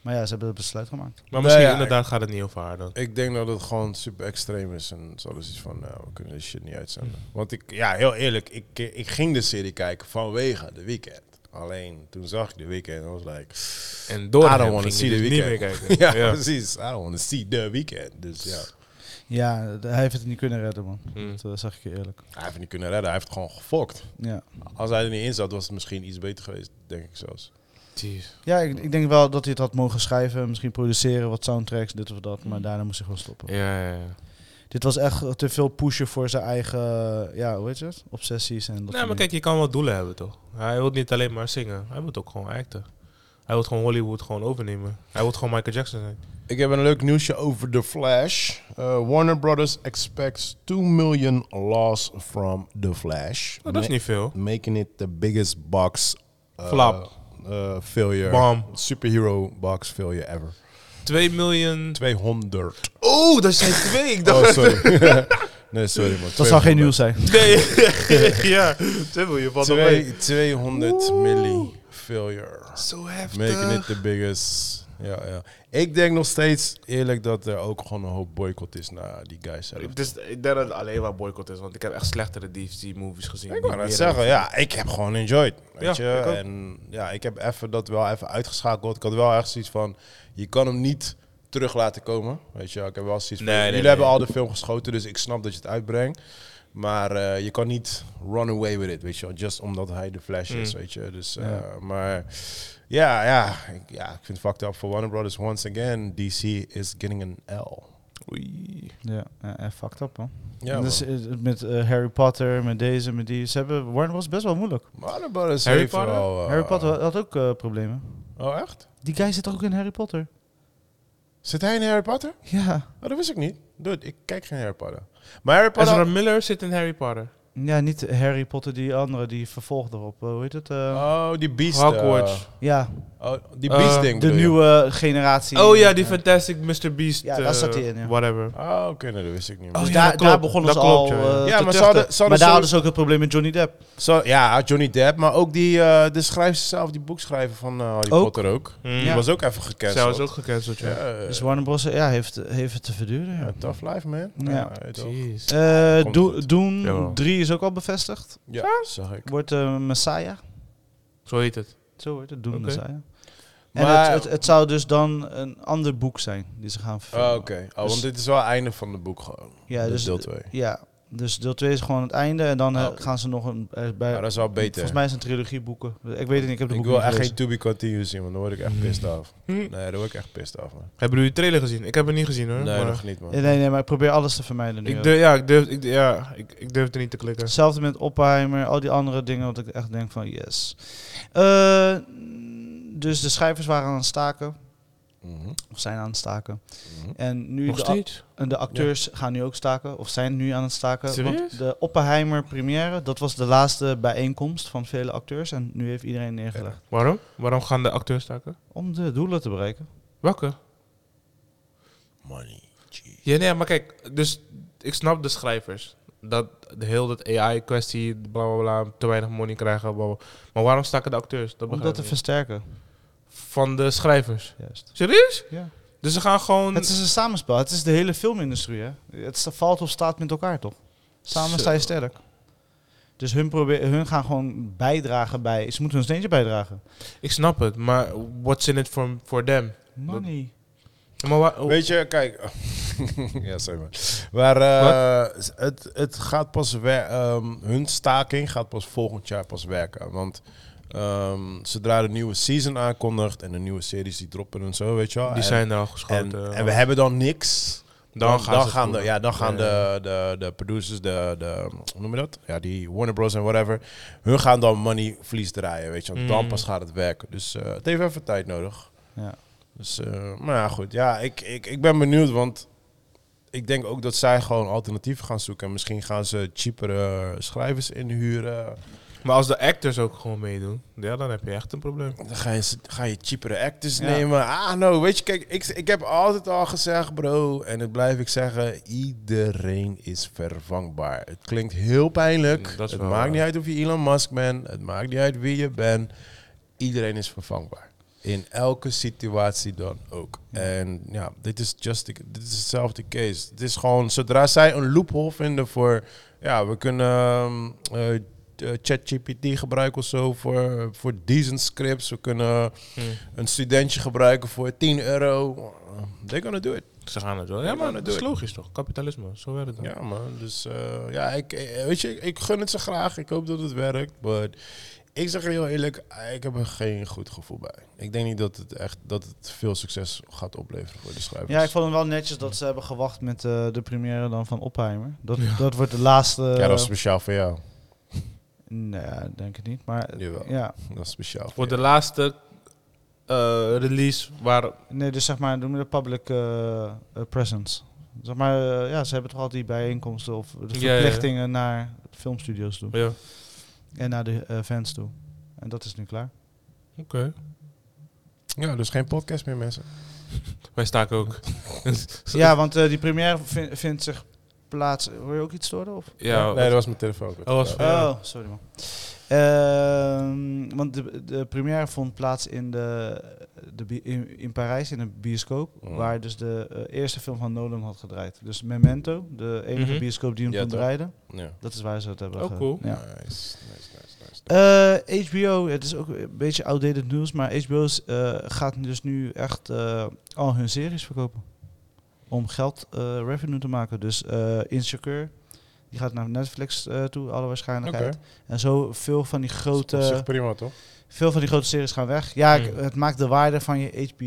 S3: Maar ja, ze hebben het besluit gemaakt.
S2: Maar misschien
S1: ja,
S2: inderdaad gaat het niet over haar dan.
S1: Ik denk dat het gewoon super extreem is en zo is iets van, nou, we kunnen dit shit niet uitzenden.
S2: Mm.
S1: Want ik, ja, heel eerlijk, ik, ik ging de serie kijken vanwege de weekend. Alleen toen zag ik de weekend en was like,
S2: En door
S1: I
S2: hem
S1: don't want to
S2: ging
S1: see
S2: ik
S1: the
S2: dus niet meer
S1: weekend.
S2: kijken.
S1: ja,
S2: Ja.
S1: precies. I don't want to see the weekend. Dus ja,
S3: Ja, de- hij heeft het niet kunnen redden, man.
S2: Mm.
S3: Dat eh, zeg ik je eerlijk.
S1: hij heeft het niet kunnen redden. Hij heeft het gewoon gefokt.
S3: Ja,
S1: Als hij er niet in zat, was het misschien iets beter geweest, denk ik zelfs.
S2: Jeez.
S3: ja ik, ik denk wel dat hij het had mogen schrijven, misschien produceren, wat soundtracks, dit of dat. Maar daarna moest hij gewoon stoppen.
S2: Mm. Ja, ja, ja.
S3: Dit was echt te veel pushen voor zijn eigen, eh, ja, hoe heet het? Obsessies en dat soort
S2: Nee, maar
S3: dingen.
S2: kijk, je kan wel doelen hebben toch? Hij wil niet alleen maar zingen. Hij wil ook gewoon acten. Hij wil gewoon Hollywood gewoon overnemen. Hij wil gewoon Michael Jackson zijn.
S1: Ik heb een leuk nieuwsje over The Flash. Eh, Warner Brothers expects 2 million loss from The Flash.
S2: Nou, dat is
S1: Ma-
S2: niet veel.
S1: Making it the biggest box... eh,
S2: Flap.
S1: eh, failure.
S2: Bam.
S1: Superhero box failure ever.
S2: 2 miljoen.
S1: 200.
S2: Oh, dat zijn twee. Ik
S1: Oh,
S2: dacht.
S1: sorry. nee, sorry man.
S3: Dat zou
S1: 200.
S3: geen nieuws zijn.
S2: Nee. ja, 2 miljoen. Wat
S1: Twee- 200 milli failure.
S2: Zo heftig.
S1: Making it the biggest ja, ja. Ik denk nog steeds eerlijk dat er ook gewoon een hoop boycott is naar die guys zelf.
S4: Het is, ik denk dat het alleen maar boycott is, want ik heb echt slechtere DC-movies gezien.
S1: Ik
S4: die
S1: wou net
S4: meer-
S1: zeggen, ja, ik heb gewoon enjoyed. Weet
S2: Ja,
S1: je?
S2: ik ook.
S1: En ja, ik heb even dat wel even uitgeschakeld. Ik had wel echt zoiets van, je kan hem niet terug laten komen. Weet je, ik heb wel zoiets van,
S4: Nee, nee,
S1: jullie
S4: nee.
S1: hebben al de film geschoten, dus ik snap dat je het uitbrengt. Maar eh, je kan niet run away with it, weet je wel. Just omdat hij de Flash is,
S2: Mm.
S1: weet je. Dus, eh, Maar ja, ja, ik, ja, ik vind het fucked up voor Warner Brothers. Once again, DC is getting an L.
S2: Oei.
S3: Ja, ja, eh, fucked up man.
S1: Ja,
S3: En
S1: man.
S3: dus, eh, met eh, Harry Potter, met deze, met die. Ze hebben, Warner was best wel moeilijk.
S1: Warner Brothers
S2: Harry
S1: heeft
S2: Potter?
S1: wel... eh,
S3: Harry Potter had ook eh, problemen.
S1: Oh, echt?
S3: Die guy zit toch ook in Harry Potter?
S1: Zit hij in Harry Potter?
S3: Ja.
S1: Oh, dat wist ik niet. Dude, ik kijk geen Harry Potter. Maar Harry Potter...
S2: Ezra Miller zit in Harry Potter.
S3: Ja, niet Harry Potter, die andere, die vervolgde op. hoe heet het? eh,
S1: Oh, die Beast.
S2: Hogwarts.
S1: eh,
S3: Ja,
S1: oh, die
S2: Eh,
S1: Beast ding
S3: de
S1: bedoel je?
S3: nieuwe generatie.
S2: Oh ja, die
S3: Eh,
S2: Fantastic Mr. Beast.
S3: Ja, daar
S2: eh,
S3: zat hij in, ja.
S2: Whatever.
S1: Oh, oké, nee, dat wist ik niet.
S2: Oh,
S1: meer.
S3: Dus
S2: ja,
S3: daar,
S2: dat
S3: daar
S2: klopt.
S3: begonnen
S2: Dat
S3: ze al
S2: klopt,
S3: ja.
S2: ja, ja.
S1: Ja, maar
S3: maar,
S1: ze hadden- ze hadden
S3: daar
S1: zo-
S3: hadden ze ook het probleem met Johnny Depp.
S1: Zo, ja, Johnny Depp, maar ook die, eh, de schrijver zelf, die boekschrijver van eh, Harry
S3: Ook.
S1: Potter ook.
S2: Mm.
S1: Die
S3: Ja.
S1: was ook even
S2: Zij
S1: gecanceld.
S2: was ook gecanceld, ja.
S1: Ja,
S3: Dus
S1: eh,
S3: Warner Bros. ja, heeft, heeft het te verduren. Ja.
S1: ja, tough life, man.
S3: Ja.
S1: weet je wel.
S2: Jeez.
S3: Eh,
S1: Komt
S3: Do-
S1: goed.
S3: Doen
S2: Jawel.
S3: 3 is ook al bevestigd.
S1: ja zag ik.
S3: Wordt eh, Messiah.
S2: Zo heet het.
S3: Zo wordt het, Doen
S2: Oké.
S3: Messiah. En
S1: Maar-
S3: het, het, het zou dus dan een ander boek zijn die ze gaan verfilmen.
S2: Ah,
S1: Oh, oké. Oh,
S2: Dus-
S1: want dit is wel het einde van het boek gewoon.
S3: Ja,
S1: dus
S3: dus,
S1: deel 2.
S3: ja, dus deel 2 is gewoon het einde. En dan eh,
S1: Ah, oké.
S3: gaan ze nog een... eh, bij,
S1: Ja, nou, dat is wel beter.
S3: Volgens mij is het een trilogie boeken. Ik weet het niet, ik heb de
S1: ik
S3: boeken
S1: wil
S3: niet
S1: echt geen
S3: gelezen.
S1: To Be Continued zien, want dan word ik echt pissed af.
S2: Hm.
S1: Nee, daar word ik echt pissed af, man.
S2: Hebben jullie de trailer gezien? Ik heb hem niet gezien hoor.
S1: Nee,
S2: maar-
S1: nog niet, man.
S3: Eh, Nee, nee, maar ik probeer alles te vermijden nu.
S2: ik
S3: ook.
S2: durf, ja, ik durf, ik, ja ik, ik durf er niet te klikken.
S3: Hetzelfde met Oppenheimer, al die andere dingen, wat ik echt denk van yes. Eh, dus de schrijvers waren aan het staken,
S1: Mhm.
S3: of zijn aan het staken.
S1: Mhm.
S3: En nu
S2: Nog
S3: de, ac-
S2: steeds?
S3: en de acteurs gaan nu ook staken, of zijn nu aan het staken.
S2: Serieus?
S3: Want de Oppenheimer première, dat was de laatste bijeenkomst van vele acteurs. En nu heeft iedereen neergelegd.
S2: Waarom? Waarom gaan de acteurs staken?
S3: Om de doelen te bereiken.
S2: Welke?
S1: Money. Jeez.
S2: Ja, nee, maar kijk, dus ik snap de schrijvers. Dat de heel dat AI-kwestie, bla bla bla, te weinig money krijgen. Bla, bla. Maar waarom staken de acteurs? Dat
S3: Om
S2: begrijp
S3: dat
S2: ik
S3: te
S2: niet.
S3: versterken.
S2: Van de schrijvers.
S3: Juist.
S2: Serieus?
S3: Ja.
S2: Dus ze gaan gewoon.
S3: Het is een samenspel. Het is de hele filmindustrie. Hè? Het sta- valt of staat met elkaar, toch? Samen
S2: Zo.
S3: sta je sterk. Dus hun, probeer, hun gaan gewoon bijdragen bij... Ze moeten hun steentje bijdragen.
S2: Ik snap het, maar what's in it for, for them?
S3: Money.
S2: Maar wa-
S1: Weet je, kijk. ja, sorry man. Maar eh, het, het gaat pas wer- ehm, hun staking gaat pas volgend jaar pas werken. Want ehm, zodra de nieuwe season aankondigt en de nieuwe series die droppen en zo, weet je wel.
S2: die
S1: en-
S2: zijn er al
S1: en,
S2: geschoten.
S1: en, we hebben dan niks.
S2: Dan gaan ze het
S1: gaan de,
S2: voeren.
S1: ja, dan gaan
S2: Ja, ja,
S1: de, de, de producers, de, de, hoe noem je dat? Ja, die Warner Bros. en whatever. Hun gaan dan money verlies draaien, weet je wel. Dan
S2: Mm.
S1: pas gaat het werken. Dus eh, het heeft even tijd nodig.
S3: Ja.
S1: Dus, eh, maar ja, goed. Ja, ik, ik, ik ben benieuwd, want ik denk ook dat zij gewoon alternatieven gaan zoeken. En misschien gaan ze cheapere schrijvers inhuren.
S2: Maar als de actors ook gewoon meedoen, ja, dan heb je echt een probleem.
S1: Dan ga je, ga je cheapere actors
S3: Ja.
S1: nemen. Ah, no, weet je, kijk, ik, ik heb altijd al gezegd, bro, en dat blijf ik zeggen, iedereen is vervangbaar. Het klinkt heel pijnlijk.
S2: Dat is
S1: het
S2: wel
S1: maakt
S2: waar.
S1: niet uit of je Elon Musk bent, het maakt niet uit wie je bent. Iedereen is vervangbaar. In elke situatie dan ook. En ja, dit is just the- dit is hetzelfde case. Het is gewoon, zodra zij een loophole vinden voor, ja, we kunnen ehm, eh, eh, ChatGPT gebruiken of zo voor, voor decent scripts. We kunnen
S2: Hmm.
S1: een studentje gebruiken voor 10 euro. They're gonna do it.
S2: Ze gaan het wel.
S1: Ja,
S2: Ja,
S1: maar
S2: maar
S1: dat
S2: dat is
S1: doe
S2: logisch toch? Kapitalisme, zo werkt het dan.
S1: Ja, man. Dus eh, ja, ik, eh, weet je, ik gun het ze graag. Ik hoop dat het werkt. Maar ik zeg je heel eerlijk, eh, ik heb er geen goed gevoel bij. Ik denk niet dat het echt dat het veel succes gaat opleveren voor de schrijvers.
S3: ja, ik vond het wel netjes dat ze hebben gewacht met eh, de première dan van Oppenheimer. Dat, dat wordt de laatste...
S1: Ja, dat is speciaal voor jou.
S3: Nee, denk ik niet. Maar
S1: Jawel.
S3: ja,
S1: Dat is speciaal.
S2: Voor
S1: Voor
S2: de laatste eh, release waar...
S3: nee, dus zeg maar, noem je dat public eh, eh, presence. Zeg maar, eh, ja, ze hebben toch altijd die bijeenkomsten of de
S2: Ja, ja, ja.
S3: verplichtingen naar filmstudio's toe.
S2: Ja, oké.
S3: En naar de eh, fans toe. En dat is nu klaar.
S1: jou. Ja, dus geen podcast meer, mensen.
S2: Wij staken ook.
S3: Ja, want eh, die première vin- vindt zich plaats. Hoor je ook iets storen? Of?
S2: Ja,
S1: nee, dat was mijn telefoon.
S2: was-
S1: Ja.
S2: Ja.
S3: Oh, sorry man. Ehm, want de, de première vond plaats in, de, de, bi- in, in Parijs, in een bioscoop.
S1: Oh.
S3: Waar dus de eh, eerste film van Nolan had gedraaid. Dus Memento, de enige
S2: Mhm.
S3: bioscoop die hem
S1: Ja,
S3: kon
S1: toch?
S3: draaien.
S1: Ja.
S3: Dat is waar ze het hebben
S2: Oh,
S3: ge-
S2: cool.
S3: ja.
S1: Nice, nice, nice, nice.
S3: Eh, HBO, het is ook een beetje outdated nieuws, maar HBO is, eh, gaat dus nu echt eh, al hun series verkopen. Om geld eh, revenue te maken. Dus eh Insecure, die gaat naar Netflix eh, toe, alle waarschijnlijkheid. En zo veel van die
S1: Dat is op zich
S3: grote,
S1: prima, toch?
S3: veel van die grote series gaan weg. Ja, ik-
S2: Hmm.
S3: het maakt de waarde van je HBO.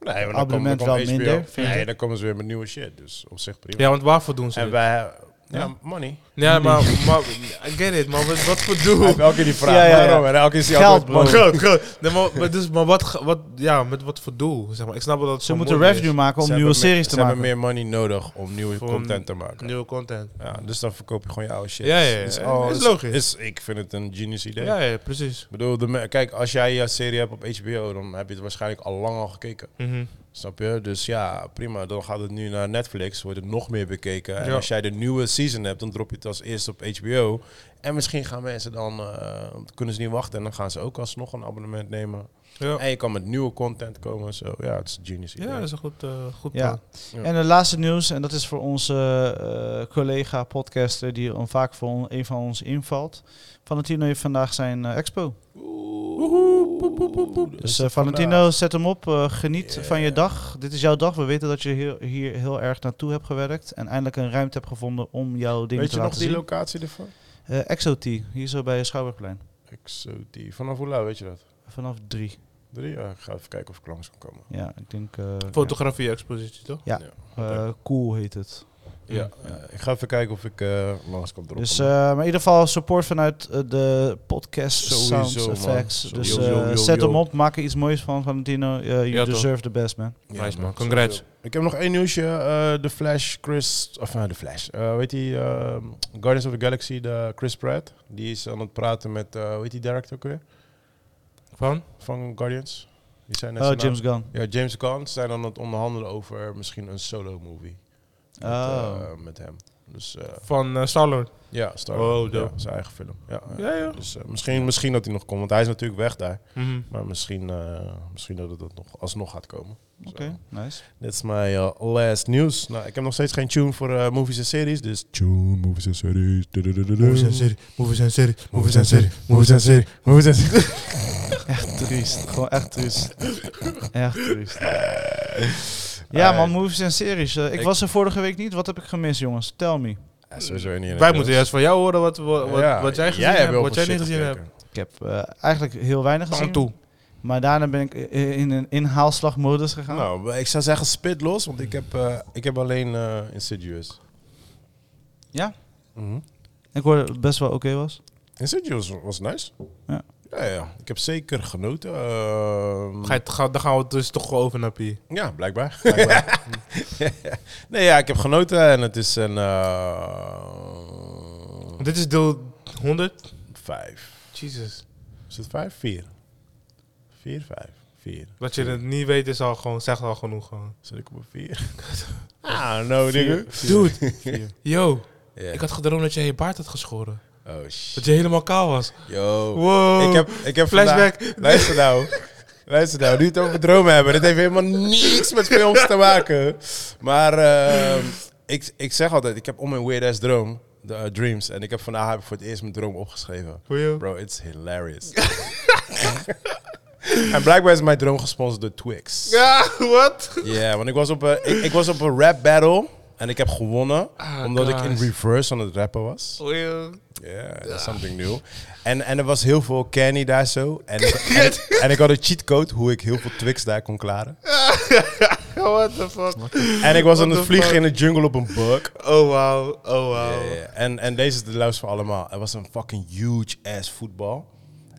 S1: Nee, maar dan
S3: Abonnement
S1: komt- dan komt
S3: wel
S1: HBO.
S3: minder, vind
S1: Nee,
S3: ik.
S1: dan komen ze weer met nieuwe shit. Dus op zich prima.
S2: Ja, want waarvoor doen ze
S1: En
S2: dit?
S1: wij... Ja,
S3: Ja.
S1: money.
S2: Ja, maar, maar... I get it, maar wat, wat voor
S1: Hij
S2: doel?
S1: heeft elke keer die vraag.
S3: Ja, ja, ja.
S1: Waarom? En elke keer is hij
S3: Geld,
S1: altijd...
S3: bro.
S1: money.
S2: Groot, groot. Nee, maar, maar dus, maar wat, ge- wat, ja, met wat voor doel? Zeg maar. Ik snap wel dat het
S3: Ze
S2: zo
S3: moeten
S2: moeilijk is.
S3: revenue maken om
S1: Ze
S3: nieuwe
S1: hebben meer-
S3: series te
S1: Ze
S3: maken.
S1: hebben meer money nodig om nieuwe
S2: Voor
S1: content te maken.
S2: Nieuwe content.
S1: Ja, dus dan verkoop je gewoon je oude shit.
S2: Ja, ja, ja.
S1: Is al-
S2: Is logisch.
S1: Is, ik vind het een genius idee.
S2: Ja, ja, precies.
S1: Ik bedoel, de me- kijk, als jij je serie hebt op HBO, dan heb je het waarschijnlijk al lang al gekeken.
S2: Mhm.
S1: Snap je? Dus ja, prima. Dan gaat het nu naar Netflix, wordt het nog meer bekeken. En
S2: Ja.
S1: als jij de nieuwe season hebt, dan drop je het als eerste op HBO. En misschien gaan mensen dan, eh, kunnen ze niet wachten. En dan gaan ze ook alsnog een abonnement nemen.
S2: Ja.
S1: En je kan met nieuwe content komen. Zo. Ja, het is een genius idee.
S2: ja, dat is een goed, eh, goed
S3: Ja.
S2: plan.
S1: Ja.
S3: En het laatste nieuws, en dat is voor onze eh, collega podcaster die on- vaak voor on- een van ons invalt. Valentino heeft vandaag zijn eh, expo. Dus eh, Valentino, zet hem op. eh, geniet
S1: Yeah.
S3: van je dag. Dit is jouw dag. We weten dat je hier, hier heel erg naartoe hebt gewerkt. En eindelijk een ruimte hebt gevonden om jouw dingen
S1: Weet
S3: te
S1: je nog
S3: laten
S1: die
S3: zien.
S1: locatie ervan?
S3: Eh, Exo-T, hier zo bij Schouwburgplein.
S1: Exotie. Vanaf hoe laat weet je dat?
S3: Vanaf drie.
S1: Drie? Ja, ik ga even kijken of ik langs kan komen.
S3: Ja, ik denk... eh,
S2: Fotografie-expositie, toch?
S3: eh, cool heet het.
S1: Ja, eh, ik ga even kijken of ik eh, langs kan droppen.
S3: Dus, eh, maar in ieder geval support vanuit eh, de podcast
S1: Sowieso,
S3: Sounds
S1: man.
S3: Effects.
S1: Sowieso.
S3: Dus
S1: Yo,
S3: eh,
S1: yo, yo,
S3: zet
S1: yo.
S3: hem op, maak er iets moois van, Valentino. Eh you
S2: Ja, toch.
S3: deserve the best, man.
S1: Ja,
S2: Nice, man.
S1: man.
S2: Congrats.
S1: Sowieso. Ik heb nog één nieuwsje. Eh, de Flash, Chris... Of nou, de Flash. Eh, weet die ehm, Guardians of the Galaxy, de Chris Pratt. Die is aan het praten met... eh hoe heet die director ook weer?
S2: Van?
S1: Van Guardians. Die zijn net
S3: Oh,
S1: zijn naam.
S3: James Gunn.
S1: Ja, James Gunn Ze zijn aan het onderhandelen over misschien een solo movie. Met,
S3: Oh.
S1: eh, met hem. Dus eh,
S2: Van eh, Star-Lord.
S1: ja, Star
S2: Oh,
S1: Wars. Ja,
S2: dope.
S1: zijn eigen film. Ja, ja.
S2: Ja, ja.
S1: Dus eh, misschien, misschien dat hij nog komt, want hij is natuurlijk weg daar.
S2: Mhm.
S1: Maar misschien, eh, misschien dat het dat nog alsnog gaat komen. Zo.
S3: Oké, nice.
S1: Dit is mijn eh, last news. Nou, ik heb nog steeds geen tune voor eh, movies en series. Dus tune, movies en series. Movies en series, movies en series, movies en series, movies en series, movies en series.
S3: Echt triest. Gewoon echt triest. echt triest.
S1: Eh,
S3: Ja, man, movies en series. Eh, ik,
S1: Ik-
S3: was er vorige week niet. Wat heb ik gemist, jongens? Tell me.
S1: Ja, sowieso niet in het
S2: Wij
S1: nieuws.
S2: moeten juist van jou horen wat, wat, wat,
S1: Ja,
S2: wat jij gezien
S1: hebt
S2: hebt,
S1: heel
S2: wat
S1: veel
S2: jij niet
S1: shit
S2: gezien hebt.
S1: gekeken.
S3: Ik heb eh, eigenlijk heel weinig gezien.
S2: Tantoe.
S3: Maar daarna ben ik eh, in een inhaalslagmodus gegaan.
S1: Nou, ik zou zeggen spit los, want ik heb, eh, ik heb alleen eh Insidious.
S3: Ja?
S1: Mhm.
S3: Ik hoorde dat het best wel oké was.
S1: Insidious was nice.
S3: Ja.
S1: Ja, ja. Ik heb zeker genoten. Ehm,
S2: Ga je, het- ga, dan gaan we het dus toch over naar Pie.
S1: Ja, blijkbaar. blijkbaar. nee, ja, ik heb genoten en het is een eh,
S2: Want dit is deel 100.
S1: vijf.
S2: Jesus.
S1: Is het vijf? Vier. Vier, vijf. Vier.
S2: Dat je het niet weet is al gewoon, zegt al genoeg gewoon.
S1: Zit ik op een vier? ah, no, nigga.
S2: Dude, yo.
S1: Ja.
S2: Ik had gedroomd dat jij je baard had geschoren.
S1: Oh, shit.
S2: Dat je helemaal kaal was.
S1: Yo.
S2: Wow.
S1: Ik heb, ik heb
S2: Flashback.
S1: vandaag- luister nou. Luister nou, nu het over dromen hebben. Dit heeft helemaal niks met films te maken. Maar ehm, ik, ik zeg altijd, ik heb om mijn weird ass droom, de, eh, dreams. En ik heb vandaag heb ik voor het eerst mijn droom opgeschreven.
S2: Goeie.
S1: Bro, it's hilarious. en blijkbaar is mijn droom gesponsord door Twix. Ja,
S2: Ja, wat?
S1: want ik was, op een, ik, ik was op een rap battle. En ik heb gewonnen,
S2: Ah,
S1: omdat ik in
S2: guys.
S1: reverse aan het rappen was.
S2: Goeie.
S1: Ja,
S2: Ah.
S1: that's something new. En, en er was heel veel candy daar zo. En, ik- en, ik- en ik had een cheatcode hoe ik heel veel Twix daar kon klaren.
S2: What the fuck?
S1: En ik was
S2: What
S1: aan het
S2: the
S1: vliegen
S2: fuck?
S1: in de jungle op een bug.
S2: Oh wow, oh
S1: Ja,
S2: wow.
S1: ja, ja. En, en deze is de luister van allemaal. Er was een fucking huge ass voetbal.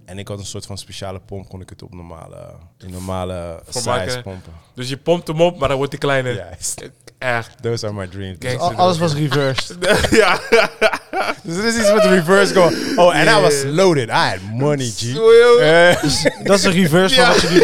S1: En ik had een soort van speciale pomp, kon ik het op normale, in normale
S2: maken.
S1: size pompen.
S2: Dus je pompt hem op, maar dan wordt hij kleiner.
S1: Ja, is-
S2: Echt.
S1: those are my dreams. Oh,
S2: Kijk.
S3: Al- alles was reversed.
S2: ja.
S1: Dus er is iets met reverse going. Oh, en I was loaded. I had money, G.
S2: Goeie.
S1: Eh,
S3: dat is een reverse van wat je nu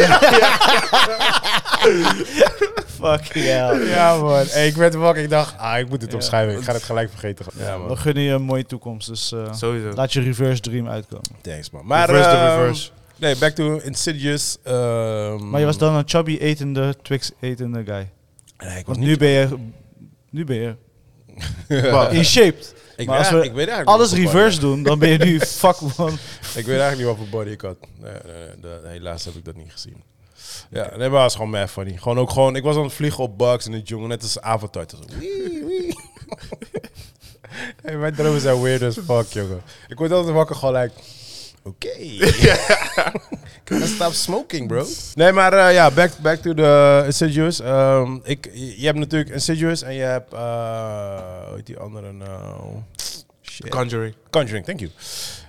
S3: Fucking hell.
S1: Ja, man. Hey, Eh, ik werd wakker. Ik dacht, ah, ik moet dit
S3: Ja.
S1: opschrijven. Ik ga het gelijk vergeten. Ja,
S3: We
S1: man.
S3: gunnen je een mooie toekomst, dus eh,
S2: Sowieso.
S3: laat je reverse dream uitkomen.
S1: Thanks, man. Maar,
S2: reverse to
S1: ehm,
S2: reverse.
S1: Nee, back to Insidious. ehm,
S3: Maar je was dan een chubby etende, Twix etende guy.
S1: Nee, ik was
S3: Want
S1: niet...
S3: nu ben je, nu ben je
S1: Wat?
S3: in
S1: Ik,
S3: shape.
S1: weet
S3: Maar als
S1: eigenlijk-
S3: we
S1: ik weet eigenlijk
S3: Alles
S1: niet wat
S3: reverse doen, dan ben je nu fuck man.
S1: voor body- Ik weet eigenlijk niet wat voor body ik had. Nee, nee, nee, dat- helaas heb ik dat niet gezien. Ja, nee, maar het was gewoon mad funny. Gewoon ook gewoon... Ik was aan het vliegen op bugs in de jungle. Net als Avatar. Het was zo, wee, wee. hey, mijn dromen zijn weird as fuck, jongen. Ik word altijd wakker gewoon like... Oké. Gotta stop smoking, bro. Nee, maar eh, ja, back, back to the Insidious. Ehm, ik, je hebt natuurlijk Insidious en je hebt... eh, hoe heet die andere nou? Shit.
S2: Conjuring.
S1: Conjuring, thank you.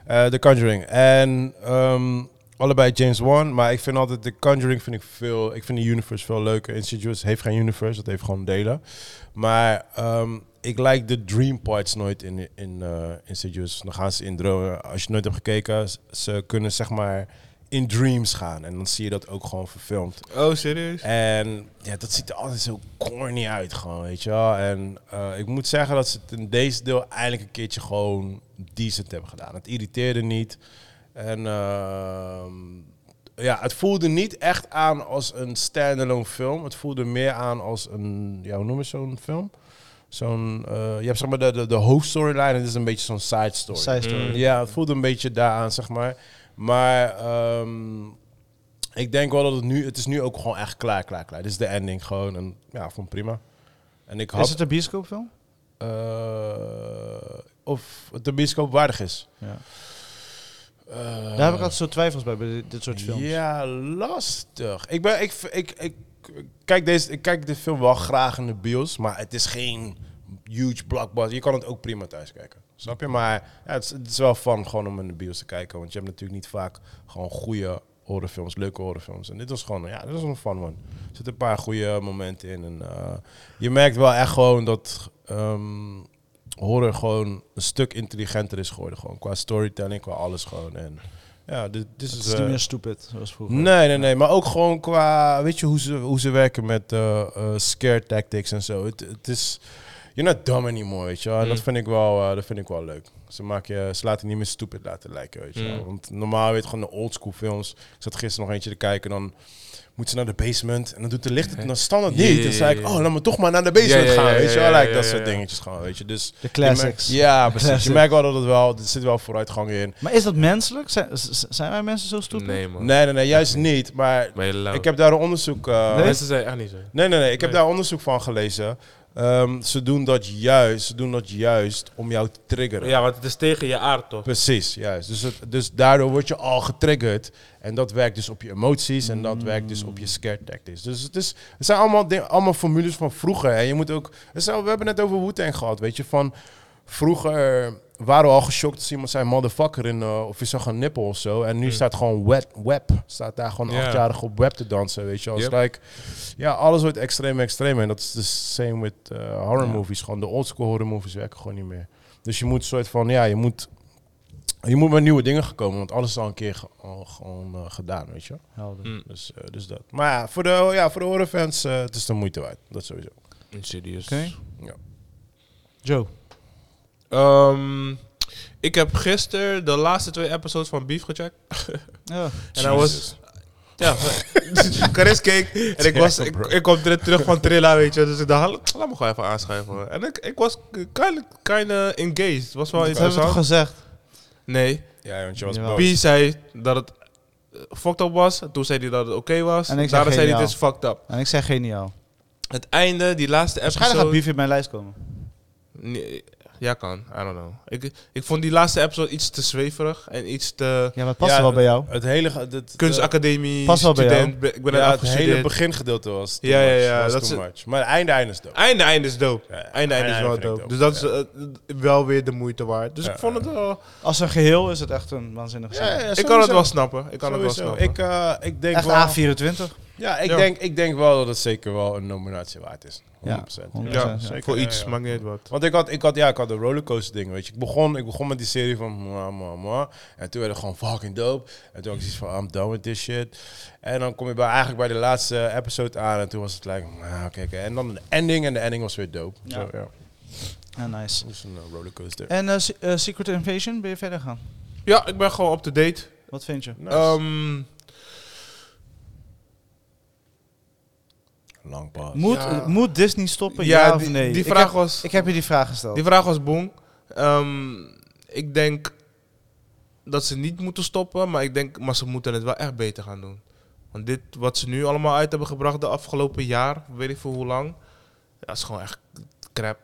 S1: Eh, De Conjuring. En ehm, allebei James Wan. Maar ik vind altijd de Conjuring vind ik veel. Ik vind de universe veel leuker. Insidious heeft geen universe, dat heeft gewoon delen. Maar ehm, ik like de dream parts nooit in, in eh, Insidious. Dan gaan ze in dromen. Als je nooit hebt gekeken, s- ze kunnen zeg maar in dreams gaan. En dan zie je dat ook gewoon verfilmd.
S2: Oh, serieus?
S1: En ja, dat ziet er altijd zo corny uit, gewoon, weet je wel. En eh, ik moet zeggen dat ze het in deze deel eindelijk een keertje gewoon decent hebben gedaan. Het irriteerde niet. En ehm, ja, het voelde niet echt aan als een standalone film. Het voelde meer aan als een, ja, hoe noem je zo'n film? Zo'n, eh, je hebt zeg maar de, de, de hoofdstoryline en dit is een beetje zo'n side story.
S3: Side story.
S2: Mm.
S1: Ja, het voelde een beetje daaraan, zeg maar. Maar ehm, ik denk wel dat het nu... Het is nu ook gewoon echt klaar, klaar, klaar. Dit is de ending gewoon. En ja, ik vond het prima. En ik
S3: Is
S1: had...
S3: het een bioscoopfilm?
S1: eh, of het de bioscoop waardig is.
S3: Ja.
S1: Eh,
S3: Daar heb ik altijd zo twijfels bij, bij dit, dit soort films.
S1: Ja, lastig. Ik ben... Ik, ik, ik, ik kijk deze, ik kijk de film wel graag in de bios, maar het is geen huge blockbuster. Je kan het ook prima thuis kijken. Snap je? Maar ja, het, is, het is wel fun gewoon om in de bios te kijken. Want je hebt natuurlijk niet vaak gewoon goede horrorfilms, leuke horrorfilms. En dit was gewoon, ja, dit was een fun one. Er zitten een paar goede momenten in. En, eh, je merkt wel echt gewoon dat ehm, horror gewoon een stuk intelligenter is geworden. Gewoon qua storytelling, qua alles gewoon. En ja, dit, dit
S3: Het
S1: is...
S3: is
S1: eh,
S3: niet meer stupid, zoals vroeger.
S1: Nee, nee, nee. Maar ook gewoon qua, weet je, hoe ze, hoe ze werken met eh, eh, scare tactics en zo. Het, het is, you're not dumb anymore, weet je wel. En dat,
S2: Mm.
S1: vind ik wel, eh, dat vind ik wel leuk. Ze, maken je, ze laten je niet meer stupid laten lijken, weet je wel.
S2: Mm.
S1: Want normaal, weet je, gewoon de oldschool films. Ik zat gisteren nog eentje te kijken, dan moet ze naar de basement. En dan doet de licht het dan standaard
S2: Ja,
S1: niet. En dan
S2: ja,
S1: zei ik,
S2: ja.
S1: oh, laat me toch maar naar de basement
S2: Ja, ja,
S1: gaan,
S2: ja,
S1: weet je wel.
S2: ja, ja,
S1: Like, dat
S2: ja,
S1: soort
S2: ja.
S1: dingetjes gewoon, weet je. Dus
S3: De
S1: je merkt-
S3: classics.
S1: Ja, precies. Je
S3: Classics.
S1: merkt wel dat het wel, er zit wel vooruitgang in.
S3: Maar is dat menselijk? Zijn, z- z- zijn wij mensen zo stupid?
S2: Nee, man.
S1: Nee, nee, nee, juist niet. Maar
S2: Ben je lauw.
S1: ik heb daar een onderzoek... eh,
S3: Nee?
S2: Mensen zijn echt niet zo.
S1: Nee, nee, nee. Ik heb
S2: Nee.
S1: daar onderzoek van gelezen. Ehm, ze doen dat juist. Ze doen dat juist om jou te triggeren.
S2: Ja, want het is tegen je aard, toch?
S1: Precies, juist. Dus, het, dus daardoor word je al getriggerd. En dat werkt dus op je emoties. En dat werkt dus
S2: Mm.
S1: op je scare tactics. Dus het, is, het zijn allemaal, ding, allemaal formules van vroeger. En je moet ook... het zijn- we hebben het net over Wu-Tang gehad, weet je. Van vroeger waren we al geschokt als iemand zei motherfucker in... eh, of je zag een nippel of zo. En nu staat gewoon wet, web. Staat daar gewoon
S2: Ja.
S1: achtjarig op web te dansen, weet je. Als
S2: Yep.
S1: like, ja, alles wordt extreem, extreem. En dat is the same with eh, horror movies. Gewoon de oldschool horror movies werken gewoon niet meer. Dus je moet soort van, ja, je moet, je moet met nieuwe dingen gaan komen. Want alles is al een keer ge- al gewoon eh, gedaan, weet je. wel.
S3: Helder.
S2: Mm.
S1: Dus, eh, dus dat. Maar ja, voor de, ja, voor de horrorfans, eh, het is de moeite waard. Dat sowieso.
S2: Insidious.
S3: Oké.
S1: Ja.
S3: Joe.
S2: Ehm, ik heb gisteren de laatste twee episodes van Beef gecheckt.
S3: Ja.
S2: En hij was... Ja, Chris keek en ik, was, ik,
S1: bro.
S2: ik kwam ter- terug van Trilla, weet je. Dus ik dacht, "Laat- laat me gewoon even aanschuiven. hoor." En ik, ik was kind of engaged. Het was wel
S3: Dat hebben we toch
S2: interessant.
S3: gezegd?
S2: Nee,
S1: Ja, want je was
S3: Jawel.
S1: boos.
S2: P zei dat het eh, fucked up was. Toen zei hij dat het oké was.
S3: En ik
S2: En
S3: zei
S2: daarna zei hij,
S3: geniaal.
S2: het is fucked up.
S3: En ik zei geniaal.
S2: Het einde, die laatste
S3: Waarschijnlijk gaat
S2: episode...
S3: Beef in mijn lijst komen.
S2: Nee, ja, kan. I don't know. Ik, ik vond die laatste episode iets te zweverig en iets te...
S3: Ja, maar het past
S1: Ja,
S3: wel bij jou.
S1: Het hele... ge- Het,
S2: Kunstacademie,
S3: Pas wel bij
S2: student, ben- ik ben
S1: ja,
S2: ja,
S1: het hele
S2: afgestudeerd.
S1: begingedote was too
S2: Ja, ja,
S1: much.
S2: ja,
S1: Was
S2: dat
S1: too
S2: is-
S1: much. Maar het einde, einde is dope.
S2: Einde, einde is dope.
S1: Ja, ja.
S2: Einde, einde is wel
S1: vind ik
S2: dope. Dus dat is
S1: Ja.
S2: eh, wel weer de moeite waard. Dus
S1: Ja,
S2: ik vond het
S1: ja.
S2: wel...
S3: eh, Als een geheel is het echt een waanzinnige
S1: Ja, ja,
S3: serie.
S1: ja,
S2: ik kan het
S1: sowieso.
S2: wel snappen. Ik kan het wel
S1: Sowieso.
S2: snappen.
S1: Ik, eh, ik denk
S3: Echt
S1: wel...
S3: A24.
S1: Ja, ik,
S2: Ja.
S1: Denk, ik denk wel dat het zeker wel een nominatie waard is. 100%.
S3: Ja,
S1: Ja,
S3: 100%,
S2: Ja,
S1: zeker.
S2: voor
S1: Ja,
S2: iets,
S1: ja.
S2: maakt niet uit wat.
S1: Want ik had, ik had, ja, ik had de rollercoaster dingen, weet je. Ik begon, ik begon met die serie van moi, moi, moi. En toen werd het gewoon fucking dope. En toen had ik zoiets van, I'm done with this shit. En dan kom je bij, eigenlijk bij de laatste episode aan. En toen was het like, nou, oké, oké. En dan de ending. En de ending was weer dope.
S3: Ja.
S1: Ja. Zo, ja.
S3: Ja, nice.
S1: Dus een eh, rollercoaster.
S3: En eh, Se- eh, Secret Invasion, ben je verder gaan?
S2: Ja, ik ben gewoon up-to-date.
S3: Wat vind je?
S1: Nice.
S4: Um,
S2: Ehm,
S1: Lang pad.
S3: Moet,
S2: Ja.
S3: eh, moet Disney stoppen? Ja,
S2: ja,
S3: of
S2: die,
S3: nee?
S2: die
S3: Ik
S2: vraag
S3: heb-
S2: was,
S3: Ik heb je die vraag gesteld.
S2: die vraag was boem. Ehm, ik denk dat ze niet moeten stoppen, maar ik denk, maar ze moeten het wel echt beter gaan doen. Want dit wat ze nu allemaal uit hebben gebracht de afgelopen jaar, weet ik voor hoe lang, dat is gewoon echt crap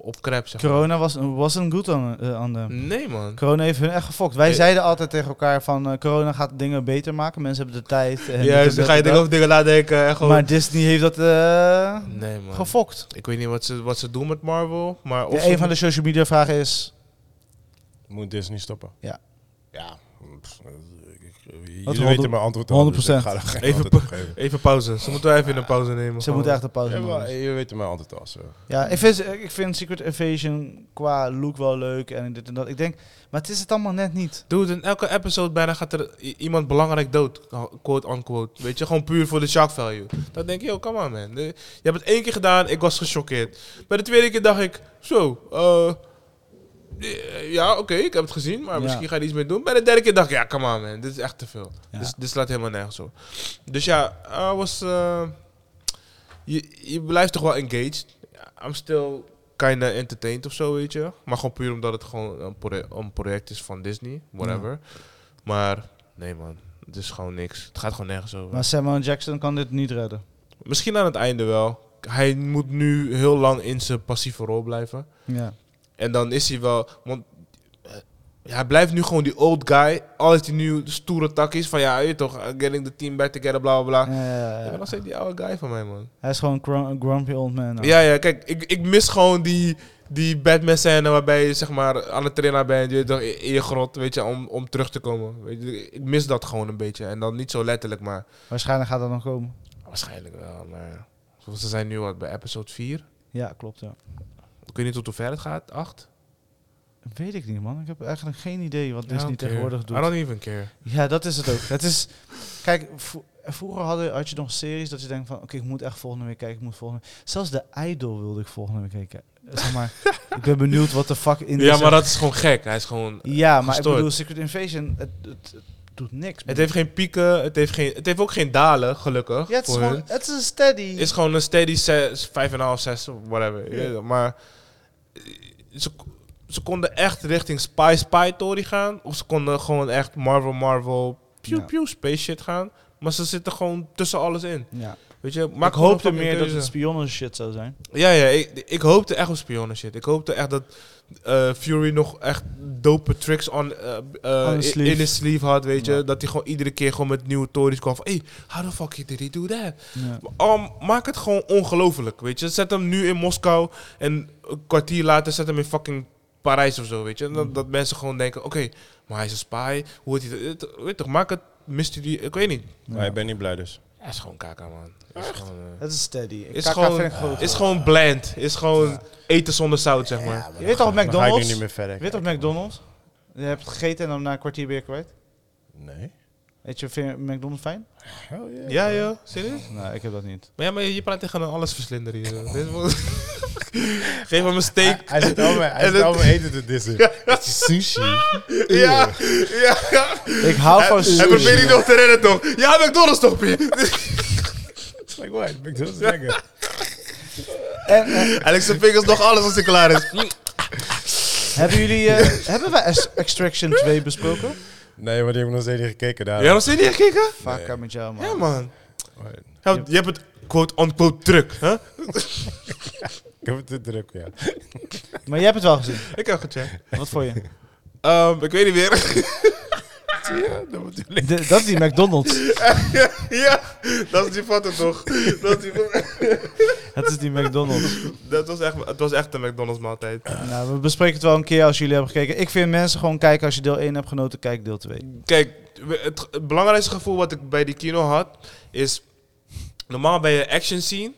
S2: op crap zeg maar.
S3: Corona was, wasn't good on, eh, on them.
S2: Nee man.
S3: Corona heeft hun echt gefokt. Wij
S2: Ja.
S3: zeiden altijd tegen elkaar van eh, corona gaat dingen beter maken. Mensen hebben de tijd.
S2: Ja,
S3: En
S2: dus
S3: dit en
S2: dan
S3: dat
S2: ga je
S3: en
S2: dingen
S3: dat.
S2: over dingen nadenken en gewoon.
S3: Maar Disney heeft dat eh,
S2: nee man.
S3: gefokt.
S2: Ik weet niet wat ze, wat ze doen met Marvel, maar of
S3: De,
S2: ze
S3: een van de social media vragen is...
S1: Moet Disney stoppen?
S3: Ja.
S1: Ja. Pff, ik- ik-
S3: honderd-
S1: Jullie weten mijn antwoord al, dus ik
S3: 100%.
S1: ga er geen
S2: Even
S1: antwoord
S2: pa-
S1: op geven.
S2: Even pauze. Ze moeten wel even een pauze nemen.
S3: Ze moeten echt een pauze
S1: Ja,
S3: nemen.
S1: maar Je weet mijn antwoord al, zo.
S3: Ja, ik vind, ik vind Secret Invasion qua look wel leuk en dit en dat. Ik denk, maar het is het allemaal net niet.
S2: Dude, in elke episode bijna gaat er i- iemand belangrijk dood. Quote unquote. Weet je, gewoon puur voor de shock value. Dan denk je, yo, come on man. Eh, Je hebt het één keer gedaan, ik was gechoqueerd. Bij de tweede keer dacht ik, zo, eh, eh, ja, oké, ik heb het gezien, maar
S3: Ja.
S2: misschien ga je er iets mee doen. Bij de derde keer dacht ik, ja, come on man, dit is echt te veel.
S3: Ja.
S2: Dus dit slaat helemaal nergens op. Dus ja, I was, eh, je, je blijft toch wel engaged. I'm still kinda entertained of zo, weet je. Maar gewoon puur omdat het gewoon een, proje- een project is van Disney, whatever. Maar nee man, het is gewoon niks. Het gaat gewoon nergens over.
S3: Maar Samuel Jackson kan dit niet redden.
S2: Misschien aan het einde wel. Hij moet nu heel lang in zijn passieve rol blijven.
S3: Ja.
S2: En dan is hij wel. Want eh, hij blijft nu gewoon die old guy. Al is hij nu de stoere tak is van ja, je weet toch, eh, getting the team back together, bla bla bla. Ik ben nog steeds die oude guy van mij, man.
S3: hij is gewoon een grum- een grumpy old man. nou.
S2: Ja, ja, kijk, ik, ik mis gewoon die, die Batman-scène waarbij je zeg maar aan het trainen bent, je weet toch, in in je grot, weet je, om, om terug te komen. Weet je, ik mis dat gewoon een beetje. En dan niet zo letterlijk, maar
S3: Waarschijnlijk gaat dat nog komen.
S2: waarschijnlijk wel. Maar ze zijn nu wat bij episode 4.
S3: Ja, klopt. Ja.
S2: Ik weet niet tot hoe ver het gaat, 8.
S3: Weet ik niet, man. Ik heb eigenlijk geen idee wat Disney tegenwoordig
S2: I
S3: doet.
S2: don't even care.
S3: Ja, dat is het ook. Het is, kijk, vro- vroeger had je, had je nog series dat je denkt van... Oké, ik moet echt volgende week kijken. Ik moet volgende week. Zelfs de Idol wilde ik volgende week kijken. Zeg maar, ik ben benieuwd wat de fuck in
S2: Ja,
S3: deze-
S2: maar dat is gewoon gek. Hij is gewoon
S3: Ja, maar
S2: gestoord.
S3: ik bedoel, Secret Invasion, het, het, het doet niks.
S2: Het heeft geen pieken, het heeft, geen, het heeft ook geen dalen, gelukkig.
S3: ja, het is
S2: voor
S3: gewoon,
S2: hun.
S3: het is een steady.
S2: Het is gewoon een steady 5,5, 6, whatever. Je weet het, Maar eh, ze, ze konden echt richting Spy Spy Tory gaan. Of ze konden gewoon echt Marvel Marvel, pew
S3: Ja.
S2: pew space shit gaan. Maar ze zitten gewoon tussen alles in.
S3: ja.
S2: Weet je, maar
S3: Maar ik hoopte meer dat het spionnen shit zou zijn.
S2: Ja, ja, ik, ik hoopte echt op spionnen shit. Ik hoopte echt dat eh, Fury nog echt dope tricks on, eh, eh,
S3: On his
S2: in-
S3: sleeve.
S2: in his sleeve had, weet je.
S3: Ja.
S2: Dat hij gewoon iedere keer gewoon met nieuwe tories kwam van... Hey, how the fuck did he do that? Um, maak het gewoon ongelofelijk, weet je. Zet hem nu in Moskou en een kwartier later zet hem in fucking Parijs of zo, weet je. En
S1: Mm.
S2: Dat, dat mensen gewoon denken, oké, maar hij is een spy. Hoe wordt hij dat? Weet toch, maak het mysterie... Ik weet niet.
S1: Maar ik ben niet blij dus.
S2: Hij is gewoon kaka, man. Hij Is gewoon, eh,
S3: Het is steady. Ik
S2: is
S3: KK
S2: gewoon,
S3: vind ik goed.
S1: Oh.
S2: is gewoon bland. Is gewoon eten zonder zout, zeg maar.
S3: je weet
S1: Dan
S3: toch
S1: ga ik nu
S3: McDonald's?
S1: niet meer
S3: Je
S1: verder.
S3: weet toch
S1: kijken.
S3: McDonald's? Je hebt gegeten en dan na een kwartier ben je kwijt.
S1: Nee.
S3: Weet je, vind je McDonald's fijn?
S1: Hell yeah.
S2: Ja, joh. Serieus?
S3: Nee, ik heb dat niet.
S2: Maar ja, maar je je praat tegen een allesverslinder hier. joh. Dit wordt- Geef hem een steak.
S1: Hij, hij zit al mijn, hij
S2: En
S1: zit al
S2: het-
S1: mijn eten te dissen. Dat is sushi.
S2: Ja, ja.
S3: Ik hou van
S2: Hij
S3: sushi.
S2: probeert niet nog te redden, toch? Ja, McDonald's toch, Piet?
S1: Like what? McDonald's is lekker.
S3: En, eh,
S2: Hij likt zijn vingers nog alles als hij klaar is.
S3: hebben jullie... eh, hebben wij Ex- Extraction 2 besproken?
S1: Nee, maar die hebben nog steeds niet gekeken daar.
S2: Ja, nog steeds niet gekeken?
S3: Vaak met jou, man.
S2: Ja, man.
S1: Maar
S2: Ja, Je hebt het quote-unquote druk, hè?
S1: Ik heb het te druk, ja.
S3: Maar jij hebt het wel gezien.
S2: Ik heb gecheckt.
S3: Wat vond je?
S2: Ehm, ik weet niet meer.
S1: Ja, dat bedoel ik.
S3: De- dat is die McDonald's.
S2: ja, dat is die foto toch? Dat, is die
S3: Het is die McDonald's.
S2: dat was echt, het was echt een McDonald's maaltijd.
S3: Nou, we bespreken het wel een keer als jullie hebben gekeken. Ik vind mensen gewoon kijken als je deel 1 hebt genoten, kijk deel 2.
S2: Kijk, we- het, het belangrijkste gevoel wat ik bij die kino had, is Normaal bij je action scene,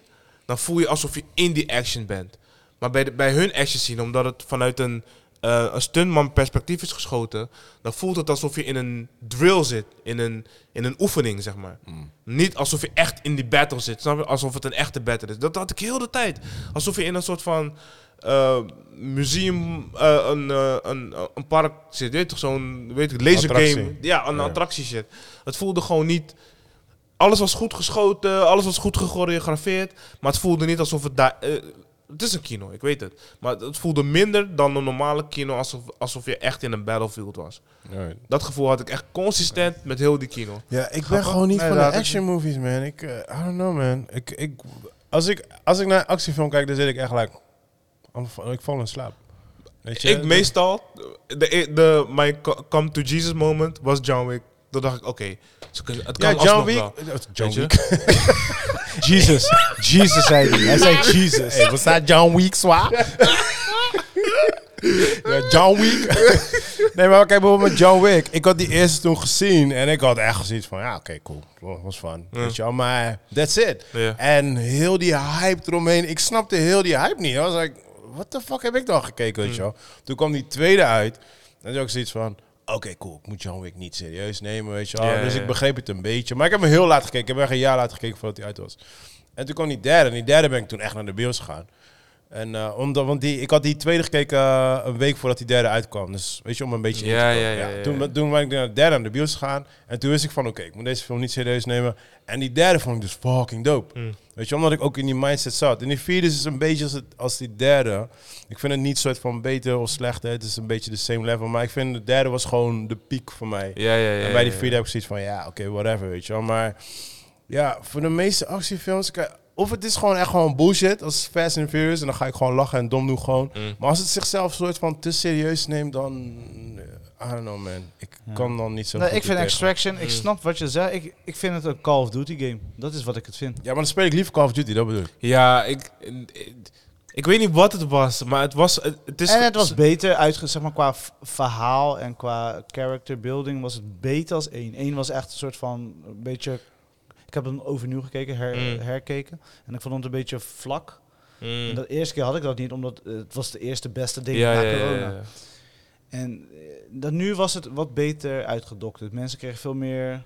S2: dan voel je alsof je in die action bent. Maar bij, de- bij hun action scene, omdat het vanuit een, eh, een stuntman perspectief is geschoten, dan voelt het alsof je in een drill zit. In een, in een oefening, zeg maar. Niet alsof je echt in die battle zit. Snap je? Alsof het een echte battle is. Dat had ik heel de tijd. Alsof je in een soort van eh, museum, eh, een, eh, een, een park zit. Weet je toch, zo'n weet ik, laser
S1: Attractie.
S2: game. Ja, een
S1: Ja.
S2: attractie shit. Het voelde gewoon niet... Alles was goed geschoten, alles was goed gechoreografeerd. Maar het voelde niet alsof het daar... eh, het is een kino, ik weet het. Maar het voelde minder dan een normale kino alsof, alsof je echt in een battlefield was.
S1: Alright.
S2: Dat gevoel had ik echt consistent met heel die kino.
S1: Ja, ik ben
S3: Grappig.
S1: gewoon niet
S3: Nee,
S1: van de
S3: dat had ik
S1: action movies, man. Ik, eh, I don't know, man. Ik, ik, als, ik, als ik naar een actiefilm kijk, dan zit ik echt like... I'm val- Ik val in slaap. Weet je?
S2: ik meestal, de, de, mijn co- come to Jesus moment was John Wick. Toen dacht ik, oké, ze kunnen- het kan
S1: Dus, Ja,
S2: ja,
S1: John
S2: alsnog Wick.
S1: Wick. John
S2: Weet je?
S1: Wick.
S3: Jesus. Jesus zei hij. Hij zei Jesus.
S1: Hey, was dat John Wick, zwaar? ja, John Wick. nee, maar kijk bijvoorbeeld met John Wick. Ik had die eerste toen gezien en ik had echt zoiets van, ja, oké, cool. Wa- Was fun. Weet je wel, maar that's it.
S2: Ja.
S1: En heel die hype eromheen. Ik snapte heel die hype niet. I was like, what the fuck heb ik dan gekeken, weet je
S2: Hmm.
S1: wel? Toen kwam die tweede uit. En toen ook zoiets van... Oké, cool. Ik moet John Wick niet serieus nemen, weet je wel.
S2: Ja,
S1: dus
S2: ja.
S1: ik begreep het een beetje. Maar ik heb hem heel laat gekeken. Ik heb echt een jaar laat gekeken voordat hij uit was. En toen kwam die derde. En die derde ben ik toen echt naar de bios gegaan. En eh, omdat, want die, ik had die tweede gekeken eh, een week voordat die derde uitkwam. Dus weet je, om een beetje... in te
S2: Ja,
S1: komen.
S2: ja, ja, ja, ja.
S1: Toen, toen ben ik naar de derde aan de bios gegaan. En toen wist ik van, oké, ik moet deze film niet serieus nemen. En die derde vond ik dus fucking dope. Weet je, omdat ik ook in die mindset zat. En die vierde is dus een beetje als, het, als die derde. Ik vind het niet soort van beter of slechter. Het is een beetje de same level. Maar ik vind de derde was gewoon de piek voor mij.
S2: Ja, ja, ja.
S1: En bij die
S2: ja,
S1: vierde heb ik zoiets van, ja, oké, whatever, weet je wel. Maar ja, voor de meeste actiefilms... kijk, Of het is gewoon echt gewoon bullshit, als Fast and Furious... en dan ga ik gewoon lachen en dom doen gewoon.
S2: Mm.
S1: Maar als het zichzelf soort van te serieus neemt, dan... eh, I don't know, man. Ik kan dan niet zo
S3: Nee,
S1: goed
S3: Nou, ik vind
S1: tegen.
S3: Extraction, ik snap wat je zei. Ik, ik vind het een Call of Duty game. Dat is wat ik het vind.
S1: Ja, maar dan speel ik liever Call of Duty, dat bedoel ik.
S2: Ja, ik, ik, ik weet niet wat het was, maar het was... Het, het is
S3: en het was beter uitge, zeg maar, qua v- verhaal en qua character building was het beter als één. Eén was echt een soort van een beetje. Ik heb hem overnieuw gekeken, her-
S2: Mm.
S3: herkeken. En ik vond het een beetje vlak.
S2: Mm.
S3: En de eerste keer had ik dat niet, omdat eh, het was de eerste beste ding
S2: Ja,
S3: na
S2: ja, ja,
S3: corona.
S2: ja.
S3: En eh, dat, nu was het wat beter uitgedokterd. Mensen kregen veel meer.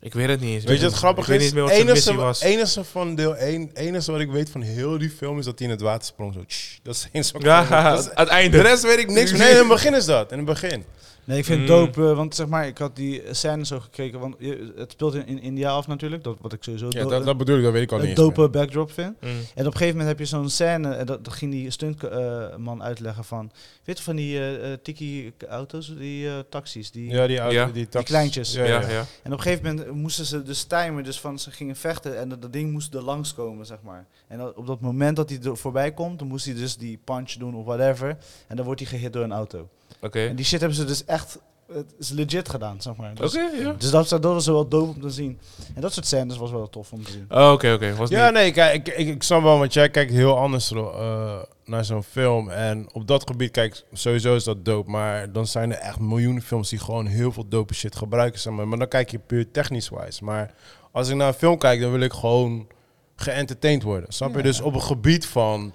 S2: Ik weet het niet eens.
S1: Weet je
S2: meer.
S1: wat grappig
S2: ik weet
S1: is?
S2: niet meer wat zijn missie
S1: enige,
S2: was.
S1: enige van deel 1, enige wat ik weet van heel die film... is dat hij in het water sprong, zo... tsch, dat is eens zo...
S2: Ja,
S1: dat is-
S2: aan het einde.
S1: de rest weet ik niks. meer. Nee, in het begin is dat. In het begin.
S3: Nee, ik vind het
S2: Mm.
S3: dope, eh, want zeg maar, ik had die scène zo gekregen. Want je- het speelt in, in India af natuurlijk, dat, wat ik sowieso do-
S1: bedoel ik, dat weet ik
S3: een dope backdrop vind.
S2: Mm.
S3: En op een gegeven moment heb je zo'n scène, en dat, dat ging die stuntman uitleggen van, weet je van die eh, eh, tiki auto's, die eh, taxis, die...
S1: Ja, die oude,
S2: Ja.
S1: die, tax-
S3: kleintjes.
S1: Ja, ja.
S2: Ja, ja. ja.
S3: En op een gegeven moment moesten ze dus timen, dus van ze gingen vechten en dat, dat ding moest er langskomen, zeg maar. En dat- op dat moment dat hij er voorbij komt, dan moest hij dus die punch doen of whatever, en dan wordt hij gehit door een auto.
S2: Oké.
S3: En die shit hebben ze dus echt, het is legit gedaan, zeg maar. Dus,
S2: Oké, ja.
S3: dus dat, dat was wel dope om te zien. En dat soort scènes was wel tof om te
S1: Eh,
S3: zien.
S2: Oh, Oké, oké. Was
S1: Ja,
S2: niet-
S1: nee, kijk, ik, ik, ik snap wel, want jij kijkt heel anders eh, naar zo'n film. En op dat gebied, kijk, sowieso is dat dope. Maar dan zijn er echt miljoenen films die gewoon heel veel dope shit gebruiken. Zeg maar. maar dan kijk je puur technisch-wise. Maar als ik naar een film kijk, dan wil ik gewoon geëntertained worden. Snap je?
S3: Ja.
S1: Dus op een gebied van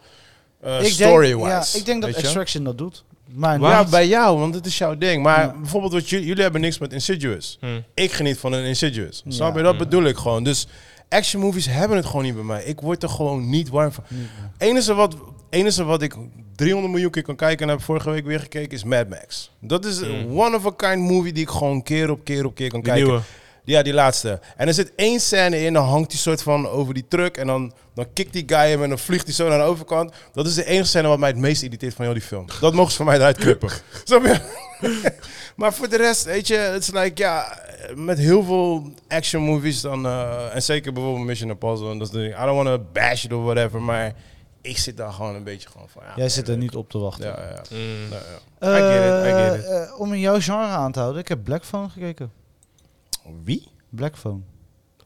S1: eh,
S3: Ik denk-
S1: story-wise.
S3: Ja, ik denk dat
S1: weet je?
S3: Extraction dat doet. Maar
S1: Ja,
S3: niet-
S1: bij jou, want het is jouw ding. Maar
S3: Ja.
S1: bijvoorbeeld, wat jullie, jullie hebben niks met Insidious.
S2: Hm.
S1: Ik geniet van een Insidious.
S3: Ja.
S1: Snap je?
S2: Mm.
S1: Dat bedoel ik gewoon. Dus action movies hebben het gewoon niet bij mij. Ik word er gewoon niet warm van.
S3: Niet, ja.
S1: Enige wat, enige wat ik 300 miljoen keer kan kijken en heb vorige week weer gekeken is Mad Max. Dat is een one of a kind movie die ik gewoon keer op keer op keer kan
S2: Mm. Die
S1: kijken.
S2: nieuwe.
S1: Ja, die laatste. En er zit één scène in, dan hangt die soort van over die truck. En dan, dan kikt die guy hem en dan vliegt hij zo naar de overkant. Dat is de enige scène wat mij het meest irriteert van heel die film. Dat mogen ze van mij eruit knippen. Snap je? maar voor de rest, weet je, het is like, ja, met heel veel action movies dan, eh, en zeker bijvoorbeeld Mission Impossible, en dat soort dingen. I don't want to bash it of whatever, maar ik zit daar gewoon een beetje gewoon van. Ja,
S3: Jij zit er niet op te wachten.
S1: Ja, ja, ja.
S2: Mm.
S1: Nou, ja.
S3: Eh,
S2: I get it, I get it.
S3: eh, om in jouw genre aan te houden, ik heb Black Phone gekeken.
S1: Wie?
S3: Black Phone.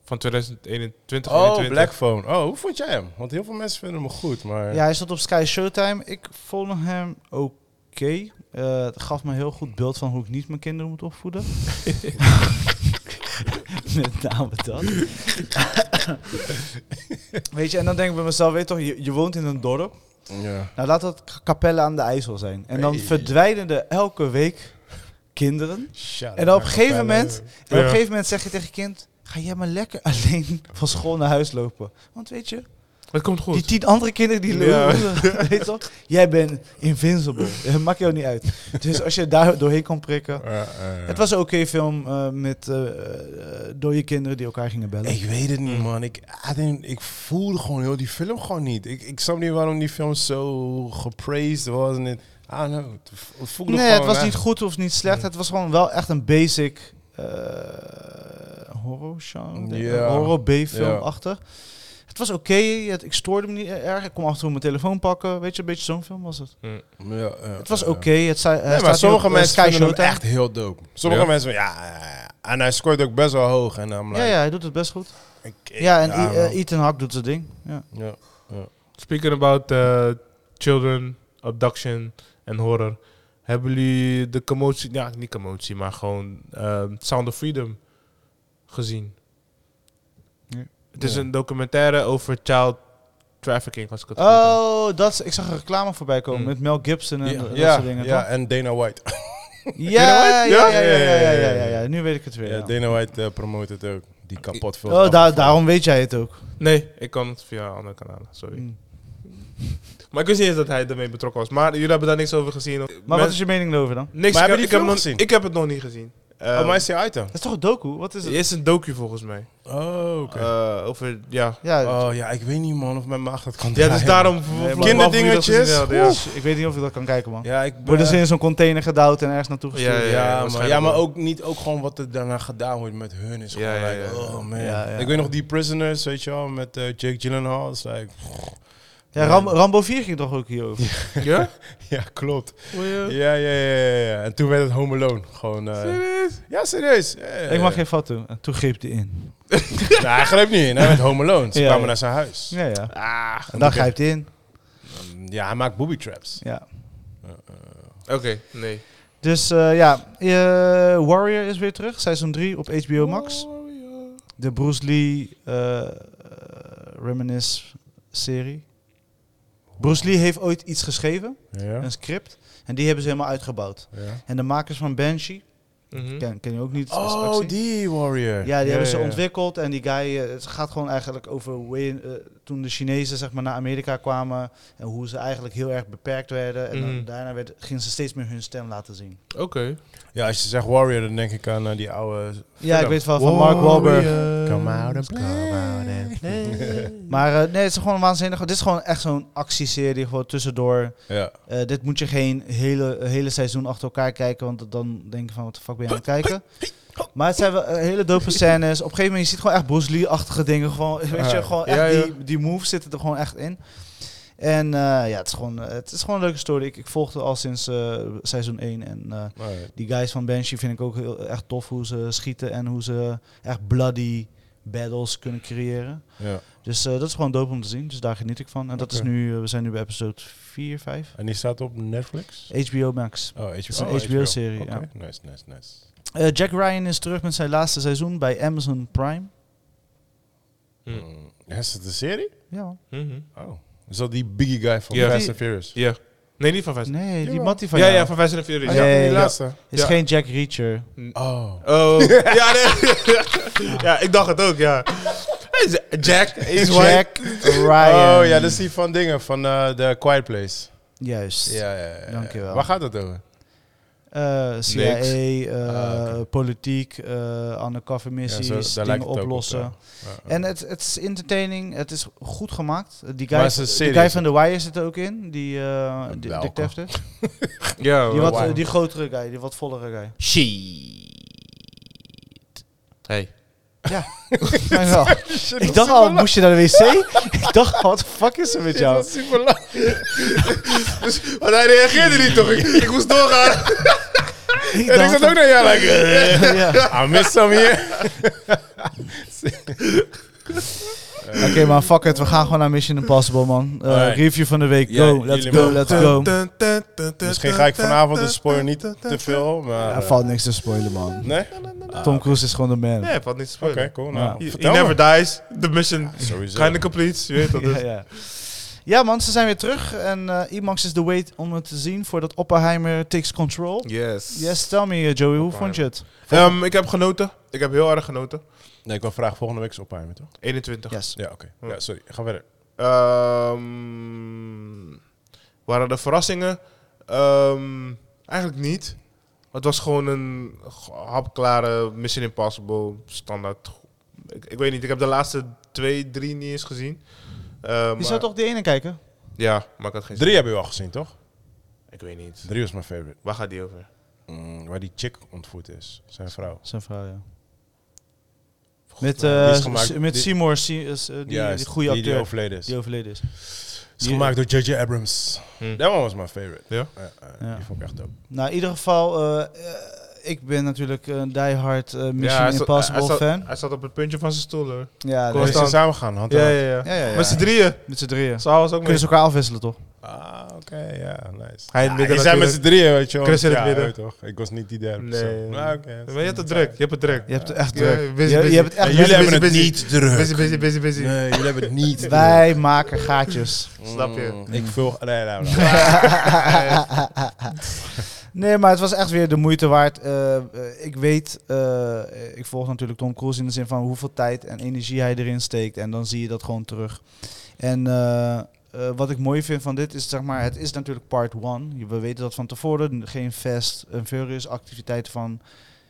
S2: Van 2021.
S1: Oh, Black Phone. Oh, hoe vond jij hem? Want heel veel mensen vinden hem goed, maar...
S3: Ja, hij stond op Sky Showtime. Ik vond hem oké. Eh, het gaf me een heel goed beeld van hoe ik niet mijn kinderen moet opvoeden. Met name dat. weet je, en dan denk ik bij mezelf, weet je toch, je, je woont in een dorp.
S1: Ja.
S3: Nou, laat dat K- Capelle aan de IJssel zijn. En dan
S1: Hey.
S3: verdwijnen er elke week kinderen. En dan op een gegeven moment, en op een
S2: eh, Ja.
S3: gegeven moment zeg je tegen je kind... Ga jij maar lekker alleen van school naar huis lopen. Want weet je,
S2: Het komt
S3: die
S2: goed.
S3: tien andere kinderen die
S2: Ja.
S3: lopen, weet je toch? Jij bent invincible. Het maakt jou niet uit. Dus als je daar doorheen kan prikken... Het was een oké film eh, met eh eh, dode kinderen die elkaar gingen bellen.
S1: Ik weet het niet, man. Ik, I didn't- ik voelde gewoon heel die film gewoon niet. Ik, ik snap niet waarom die film zo gepraised was. En het, I don't know. Het vo- het voelde
S3: nee,
S1: gewoon
S3: het was
S1: echt-
S3: niet goed of niet slecht. Het was gewoon wel echt een basic eh horror show.
S1: Ja.
S3: Horror
S1: Ja.
S3: B-film achter. Het was oké, het- ik stoorde me niet e- erg. Ik kon af en toe mijn telefoon pakken. Weet je, een beetje zo'n film was het.
S1: Ja, ja,
S3: Het was
S1: ja.
S3: oké. het zei, hij
S1: Nee, maar
S3: staat
S1: sommige
S3: nu op, eh,
S1: mensen
S3: Sky
S1: vinden hem
S3: Showtime.
S1: echt heel dope. Sommige
S2: Ja?
S1: mensen, ja, ja, ja. En hij scoort ook best wel hoog. En dan
S3: Ja, ja, hij doet het best goed.
S1: Ik, ik-
S3: Ja, en I- eh,
S1: man.
S3: Ethan Hawke doet zijn ding. Ja.
S1: ja.
S2: Speaking about eh, children, abduction en horror. Hebben jullie de commotie, ja niet commotie, maar gewoon eh, Sound of Freedom gezien?
S3: Nee.
S2: Het is
S1: Nee.
S2: een documentaire over child trafficking, als ik het goed heb.
S3: Oh, dat, is- ik zag een reclame voorbij komen
S2: Mm.
S3: met Mel Gibson en
S1: Ja,
S3: dat
S1: ja,
S3: soort dingen.
S1: ja,
S3: toch?
S1: en Dana White.
S3: Ja, ja,
S1: You know
S3: ja,
S1: what?
S3: ja, ja, ja, ja, ja,
S1: ja,
S3: ja. Nu weet ik het weer.
S1: Ja,
S3: ja.
S1: Dana White eh, promoot het ook. Die kapot veel.
S3: Oh, da- daarom weet jij het ook.
S2: Nee, ik kan het via andere kanalen, sorry.
S3: Mm.
S2: Maar ik wist niet eens dat hij ermee betrokken was. Maar jullie hebben daar niks over gezien.
S3: Maar
S2: Mensen-
S3: wat is je mening over dan?
S2: Niks,
S1: Maar
S2: ik,
S1: hebben
S2: heb,
S1: die
S2: ik, heb
S1: film
S2: nog-
S1: gezien?
S2: ik heb het nog niet gezien.
S1: Oh,
S2: Eh,
S1: maar is die uit dan?
S3: Dat is toch een docu? Wat is
S2: het
S3: het?
S2: is een docu volgens mij.
S1: Oh, oké.
S2: Eh, over, ja.
S3: Ja,
S1: oh ja, ik weet niet man of mijn maag dat kan
S2: Ja,
S1: draaien.
S2: dus daarom...
S3: nee, maar-
S1: kinderdingetjes.
S2: Waarom jullie dat gezien
S3: Oeh,
S2: hadden,
S3: Ik weet niet of ik dat kan kijken, man.
S1: Ja, ik ben,
S3: Worden ze in zo'n container gedouwd en ergens naartoe
S2: Ja,
S3: gestuurd?
S1: ja, maar,
S2: waarschijnlijk
S1: ja, maar
S2: wel.
S1: ook niet ook gewoon wat er daarna gedaan wordt met hun is
S2: Ja,
S1: gewoon
S2: ja,
S1: like,
S2: ja.
S1: oh man.
S3: Ja, ja.
S1: Ik weet nog die Prisoners, weet je wel, met eh, Jake Gyllenhaal. is like,
S3: Ja, Ram- Rambo 4 ging toch ook hierover?
S2: Ja. ja?
S1: ja, klopt.
S2: Weird.
S1: Ja, ja, ja, ja, ja. En toen werd het Home Alone. Gewoon, eh, ja, serieus. Ja, ja,
S3: Ik mag
S1: ja.
S3: geen fout doen. En toen greep hij in.
S1: Nou, hij greep niet in, hè, met Home Alone. Ze
S3: Ja,
S1: kwamen
S3: ja.
S1: naar zijn huis. Ja.
S3: Ja, ja.
S2: Ah.
S3: En dan
S1: oké.
S3: grijpt hij in.
S1: hij maakt booby traps.
S3: Ja.
S2: Oké, nee.
S3: Dus eh, ja, eh, Warrior is weer terug. Seizoen 3 op HBO Max. De Bruce Lee eh, eh, Reminisce serie. Bruce Lee heeft ooit iets geschreven,
S1: Ja.
S3: een script. En die hebben ze helemaal uitgebouwd.
S1: Ja.
S3: En de makers van Banshee,
S4: Hm?
S2: Mhm.
S3: ken, ken je ook niet. als
S1: Oh,
S3: actie.
S1: die warrior.
S3: Ja, die hebben ze
S1: ja, ja.
S3: ontwikkeld. En die guy, eh, het gaat gewoon eigenlijk over hoe in- eh, toen de Chinezen zeg maar, naar Amerika kwamen. En hoe ze eigenlijk heel erg beperkt werden. En dan
S2: Mhm.
S3: daarna werd, gingen ze steeds meer hun stem laten zien.
S2: Oké.
S1: Ja, als je zegt warrior, dan denk ik aan eh, die oude...
S3: Ja, ik weet wel van Mark
S1: Oh,
S3: Wahlberg. Maar eh, nee, het is gewoon waanzinnig. Dit is gewoon echt zo'n actieserie, gewoon tussendoor.
S1: Ja.
S3: Eh, dit moet je geen hele, hele seizoen achter elkaar kijken, want dan denk je van, wat de fuck ben je aan het kijken? Maar het zijn wel eh, hele dope scènes. Op een gegeven moment, je ziet gewoon echt Bruce Lee-achtige dingen. Gewoon, weet je,
S1: Ja.
S3: gewoon echt
S2: Ja, ja.
S3: Die, die moves zitten er gewoon echt in. En eh, ja, het is, gewoon, eh, het is gewoon een leuke story. Ik, ik volgde al sinds eh, seizoen 1 en... eh,
S1: Alright.
S3: die guys van Banshee vind ik ook heel, echt tof hoe ze schieten en hoe ze echt bloody battles kunnen creëren.
S1: ja.
S3: Dus eh, dat is gewoon dope om te zien. Dus daar geniet ik van. En dat is
S1: Oké.
S3: nu, eh, we zijn nu bij episode 4, 5.
S1: En die staat op Netflix?
S3: HBO Max.
S1: Oh, HBO.
S3: is een
S1: Oh,
S3: HBO-serie,
S1: Oké,
S3: ja.
S1: Nice, nice, nice.
S3: Eh, Jack Ryan is terug met zijn laatste seizoen bij Amazon Prime.
S2: Hm.
S1: Mm. Is het een serie?
S3: Ja, man.
S2: Mhm.
S1: Oh. Is dat die biggie guy van
S2: Ja.
S1: Fast
S3: Die-
S1: and Furious?
S2: Ja. Nee, niet van Vest.
S3: Nee, die
S1: Jawel.
S3: Mattie van
S2: Ja,
S3: jou
S2: ja, van Vest en Fury.
S3: Ah,
S2: ja.
S3: nee, ja.
S1: laatste.
S3: is
S2: ja.
S3: geen Jack Reacher.
S1: Oh.
S2: Oh. ja, nee. ja, ik dacht het ook, ja. Hij is- Jack. Is white.
S3: Jack Ryan.
S1: Oh ja, dat is die van dingen, van eh The Quiet Place.
S3: Juist.
S1: Ja, ja, ja.
S3: Dankjewel.
S1: Waar gaat het over?
S3: Eh, CIA,
S2: Niks.
S3: eh,
S1: Ah, oké.
S3: politiek, eh undercover missies,
S1: zo- daar lijkt
S3: dingen
S1: het ook op,
S3: oplossen.
S1: ja. Ja, ja.
S3: En het, het is entertaining, het is goed gemaakt. Eh, Die guy,
S1: Maar het is een
S3: die
S1: serie,
S3: guy
S1: is
S3: van The Wire zit er ook in, die eh
S1: Welke?
S3: di- detective.
S2: Ja,
S3: Die,
S2: wat
S3: wat, eh, die grotere guy, die wat vollere guy.
S2: Hey.
S3: Fijn wel. Ik dacht al, moest je naar de wc? ik dacht al, wat de fuck is er met jou?
S1: super lang. Dus,
S2: Want hij reageerde niet toch? Ik, ik moest doorgaan.
S3: Ik
S1: En ik zat ook naar jou, like, eh,
S3: ja.
S1: I missed some here.
S3: Oké maar fuck it, we gaan gewoon naar Mission Impossible man. Eh,
S1: Alright.
S3: Review van de week, go,
S1: Ja,
S3: let's
S1: jullie
S3: go,
S1: mogen
S3: let's go.
S1: Misschien ga ik vanavond de spoiler niet te veel, maar... Eh,
S3: Er valt niks te spoilen man.
S1: Nee?
S3: Tom Cruise is gewoon de man.
S2: Nee, valt niet te
S1: Oké,
S2: speuren.
S1: cool. Nou,
S2: He, he
S1: vertel
S2: never
S1: me.
S2: dies. The mission
S1: Sowieso.
S2: kinda complete. Je weet dat
S3: ja,
S2: dus.
S3: ja. ja, man, ze zijn weer terug. En eh Imax is the wait om het te zien voordat Oppenheimer takes control.
S2: Yes.
S3: Yes, tell me, eh, Joey, hoe vond je het?
S2: Ehm, ik heb genoten. Ik heb heel erg genoten.
S1: Nee, ik wil vragen volgende week is opruimen, toch?
S2: 21.
S3: Yes.
S1: Ja, oké. Ja, sorry. Ga verder.
S2: Ehm, waren er verrassingen? Ehm, eigenlijk niet. Het was gewoon een g- hapklare Mission Impossible standaard. Ik, ik weet niet, ik heb de laatste twee, drie niet eens gezien. Ehm,
S3: Je
S2: maar-
S3: zou toch die ene kijken?
S2: Ja, maar ik had geen zin.
S1: Drie hebben we al gezien, toch?
S2: Ik weet niet.
S1: Drie was mijn favorite.
S2: Waar gaat die over?
S1: Mm, waar die chick ontvoerd is. Zijn vrouw.
S3: Zijn vrouw, ja. Met,
S1: nou, die is
S3: eh,
S1: gemaakt-
S3: S- met
S1: die-
S3: Seymour, Si- is, eh, die,
S1: Juist,
S3: die goede
S1: die,
S3: acteur
S1: Die overleden is.
S3: die overleden is.
S1: is
S3: die-
S1: gemaakt door J.J. Abrams.
S2: Hmm.
S1: Dat one was mijn favorite.
S2: Ja?
S1: eh,
S3: Ja.
S1: Die vond ik echt dope.
S3: Nou, in ieder geval, eh, eh, ik ben natuurlijk een diehard eh Mission
S2: hij zat-
S3: Impossible
S2: hij zat-
S3: fan.
S2: Hij zat op het puntje van zijn stoel hoor.
S1: Hoe
S3: Ja,
S2: Constant.
S3: nee.
S1: is ze samen gaan? Hand in
S2: Ja,
S1: hand.
S2: ja, ja.
S3: ja, ja, ja.
S2: Met z'n drieën.
S3: Met z'n drieën.
S2: Saal was ook mee.
S3: Kunnen ze elkaar afwisselen, toch?
S1: Ah, oké. ja, nice.
S2: Hij
S1: Ja,
S2: in het
S1: je
S2: midden
S1: zijn met z'n
S2: natuurlijk.
S1: drieën, weet je wel.
S2: Chris in het
S1: Ja,
S2: midden.
S1: weet toch? Ik was niet die derde
S2: Nee.
S1: persoon. Maar oké, dat is
S2: Maar je hebt het
S1: niet
S2: druk,
S1: fijn.
S2: je hebt het druk.
S3: Je hebt het echt
S2: Ja,
S3: druk.
S2: busy,
S3: Je- je,
S2: busy.
S3: hebt het echt
S1: En
S3: druk.
S1: jullie hebben het
S2: busy.
S1: niet druk.
S2: Busy, busy, busy, busy.
S1: Nee, jullie hebben het niet druk.
S3: Wij maken gaatjes.
S2: Snap je?
S1: Mm, Ik vul... Nee, nou, nou.
S3: nee, maar het was echt weer de moeite waard. Eh, eh, ik weet, eh, ik volg natuurlijk Tom Cruise in de zin van hoeveel tijd en energie hij erin steekt. En dan zie je dat gewoon terug. En eh, eh, wat ik mooi vind van dit is, zeg maar, het is natuurlijk part one. Je- We weten dat van tevoren. Geen vest, een furious activiteit van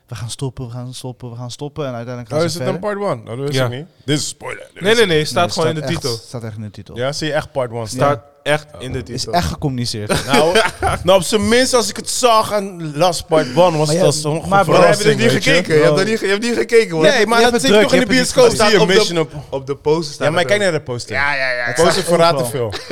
S3: we gaan stoppen, we gaan stoppen, we gaan stoppen. En uiteindelijk gaan
S1: Oh,
S3: ze
S1: is het dan
S3: verder.
S1: part 1? dat wist
S2: Ja.
S1: ik niet. Dit is spoiler. Dit
S2: Nee,
S1: is-
S2: nee, nee, staat
S3: Nee,
S2: gewoon in de
S3: echt-
S2: titel.
S3: staat echt in de titel.
S1: Ja, zie je echt part 1 staan.
S2: Staat echt in de
S3: Is
S2: titel.
S3: echt gecommuniceerd.
S1: Nou, nou, op zijn minst als ik het zag en las part 1 was
S3: Maar
S1: het
S3: ja,
S1: al zo'n
S3: maar bro,
S2: Maar heb je
S1: verrassing,
S2: dit niet
S1: weet je?
S2: gekeken? Je
S3: Bro.
S2: hebt, dat niet, ge- je hebt niet gekeken, hoor.
S1: Nee, maar
S3: Je hebt
S1: dat
S3: het
S1: zit
S3: druk,
S1: toch
S3: je
S1: in de
S3: hebt het
S1: bioscoop.
S2: niet
S1: Zie je
S2: gezien.
S1: Mission op...
S2: Op de poster staat
S1: Ja, maar
S2: dat
S1: kijk
S2: ook.
S1: naar de poster.
S2: Ja, ja, ja.
S1: De
S2: ja.
S1: poster verraadt te veel.
S3: overal.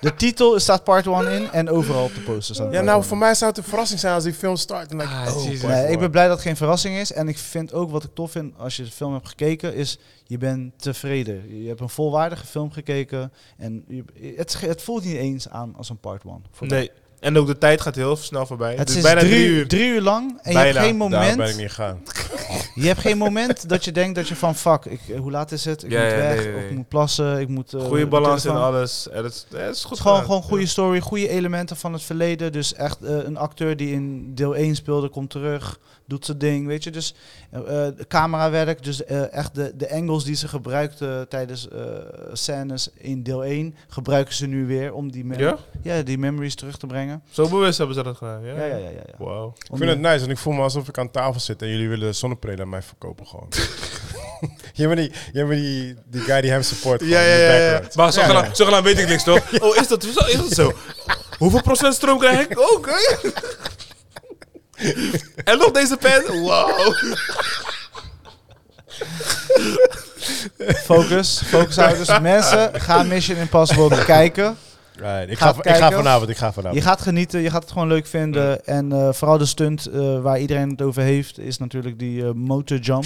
S3: De titel staat part 1 in en overal op de poster staat
S1: Ja,
S3: part
S1: nou,
S3: one
S1: voor
S3: in.
S1: mij zou het een verrassing zijn als die film start. En dan denk ik,
S2: Ah,
S1: oh,
S2: jezus.
S1: part
S3: Nee, ik
S1: one.
S3: ben blij dat het geen verrassing is. En ik vind ook wat ik tof vind als je de film hebt gekeken, is je bent tevreden. Je hebt een volwaardige film gekeken. En je- het, ge- het voelt niet eens aan als een part 1.
S2: Nee. En ook de tijd gaat heel snel voorbij.
S3: Het
S2: dus
S3: is
S2: bijna
S3: drie,
S2: drie
S3: uur.
S2: uur.
S3: drie uur lang en je hebt
S2: Bijna.
S3: geen
S1: Daar ben ik
S3: moment,
S1: niet gaan.
S3: je hebt geen moment dat je denkt dat je van fuck, ik, eh, hoe laat is het? Ik
S2: Ja,
S3: moet
S2: ja,
S3: weg,
S2: nee, nee,
S3: of ik
S2: nee.
S3: moet plassen, ik moet... eh,
S2: Goede
S3: de
S2: balans in
S3: telefoon-
S2: alles. En het, is, ja, het is goed
S3: Het is gewoon,
S2: gedaan.
S3: gewoon goede story, goede elementen van het verleden. Dus echt eh, een acteur die in deel 1 speelde, komt terug, doet zijn ding, weet je. Dus eh, eh, camerawerk, dus eh, echt de, de angles die ze gebruikten tijdens eh, scènes in deel 1, gebruiken ze nu weer om die, mem-
S2: Ja?
S3: ja, die memories terug te brengen.
S2: Zo bewust hebben ze dat gedaan. Ja,
S3: Ja, ja, ja. ja, ja.
S2: Wow.
S1: Ik vind het nice en ik voel me alsof ik aan tafel zit en jullie willen zonneprelen aan mij verkopen gewoon. jij bent, die, jij bent die, die guy die hem support.
S2: Ja, ja, ja. ja. Maar zo
S1: Ja,
S2: gedaan, zo gedaan weet ik niks, toch? Oh, is dat, is dat- is dat zo? Hoeveel procent stroom krijg ik? Ook, hè? En nog deze pen? Wow.
S3: Focus, focus houden. Dus mensen, ga Mission Impossible bekijken.
S1: Right, ik,
S3: Gaat
S1: ga, ik ga
S3: kijken.
S1: vanavond, ik ga
S3: Je
S1: vanavond.
S3: gaat genieten, je gaat het gewoon leuk vinden. En eh, vooral de stunt eh, waar iedereen het over heeft, is natuurlijk die eh, motorjump.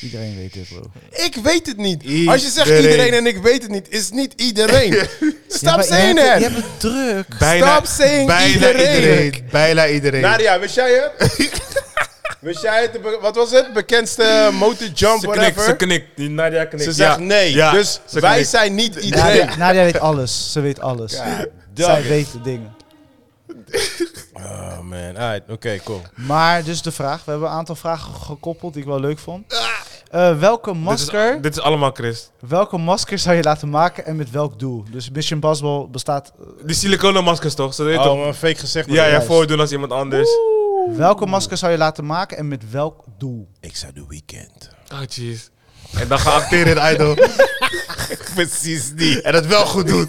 S3: Iedereen weet dit, bro.
S1: Ik weet het niet. Als je zegt
S2: Iedereen.
S1: iedereen en ik weet het niet, is het niet iedereen.
S3: Ja,
S1: Stop
S3: maar
S1: saying
S3: je hebt,
S1: that.
S3: het- Je hebt het druk.
S1: Stop saying iedereen.
S2: Bijna iedereen.
S1: Nadia, wist jij het? wist jij het? De be- Wat was het? Bekendste motorjump,
S2: Ze knikt,
S1: whatever?
S2: ze knikt. Die Nadia knikt.
S1: Ze zegt
S2: Ja.
S1: nee.
S2: Ja,
S1: dus
S2: ze
S1: wij
S2: knikt.
S1: zijn niet iedereen.
S3: Nadia, Nadia weet alles. Ze weet alles. Zij weet de dingen.
S1: Oh man, alright, oké, cool.
S3: Maar dus de vraag. We hebben een aantal vragen gekoppeld die ik wel leuk vond. Eh, welke, masker,
S2: Dit is allemaal Chris.
S3: welke masker zou je laten maken en met welk doel? Dus Mission Impossible bestaat...
S2: Die siliconen maskers toch? Ze weet
S1: Oh,
S2: toch?
S1: maar een fake gezicht.
S2: Ja, ja,
S3: juist.
S2: voordoen als iemand anders.
S3: Welke masker zou je laten maken en met welk doel?
S1: Ik zou de weekend.
S2: Oh, jeez. En dan gaan acteren in Idol.
S1: Precies die.
S2: En het wel goed doen.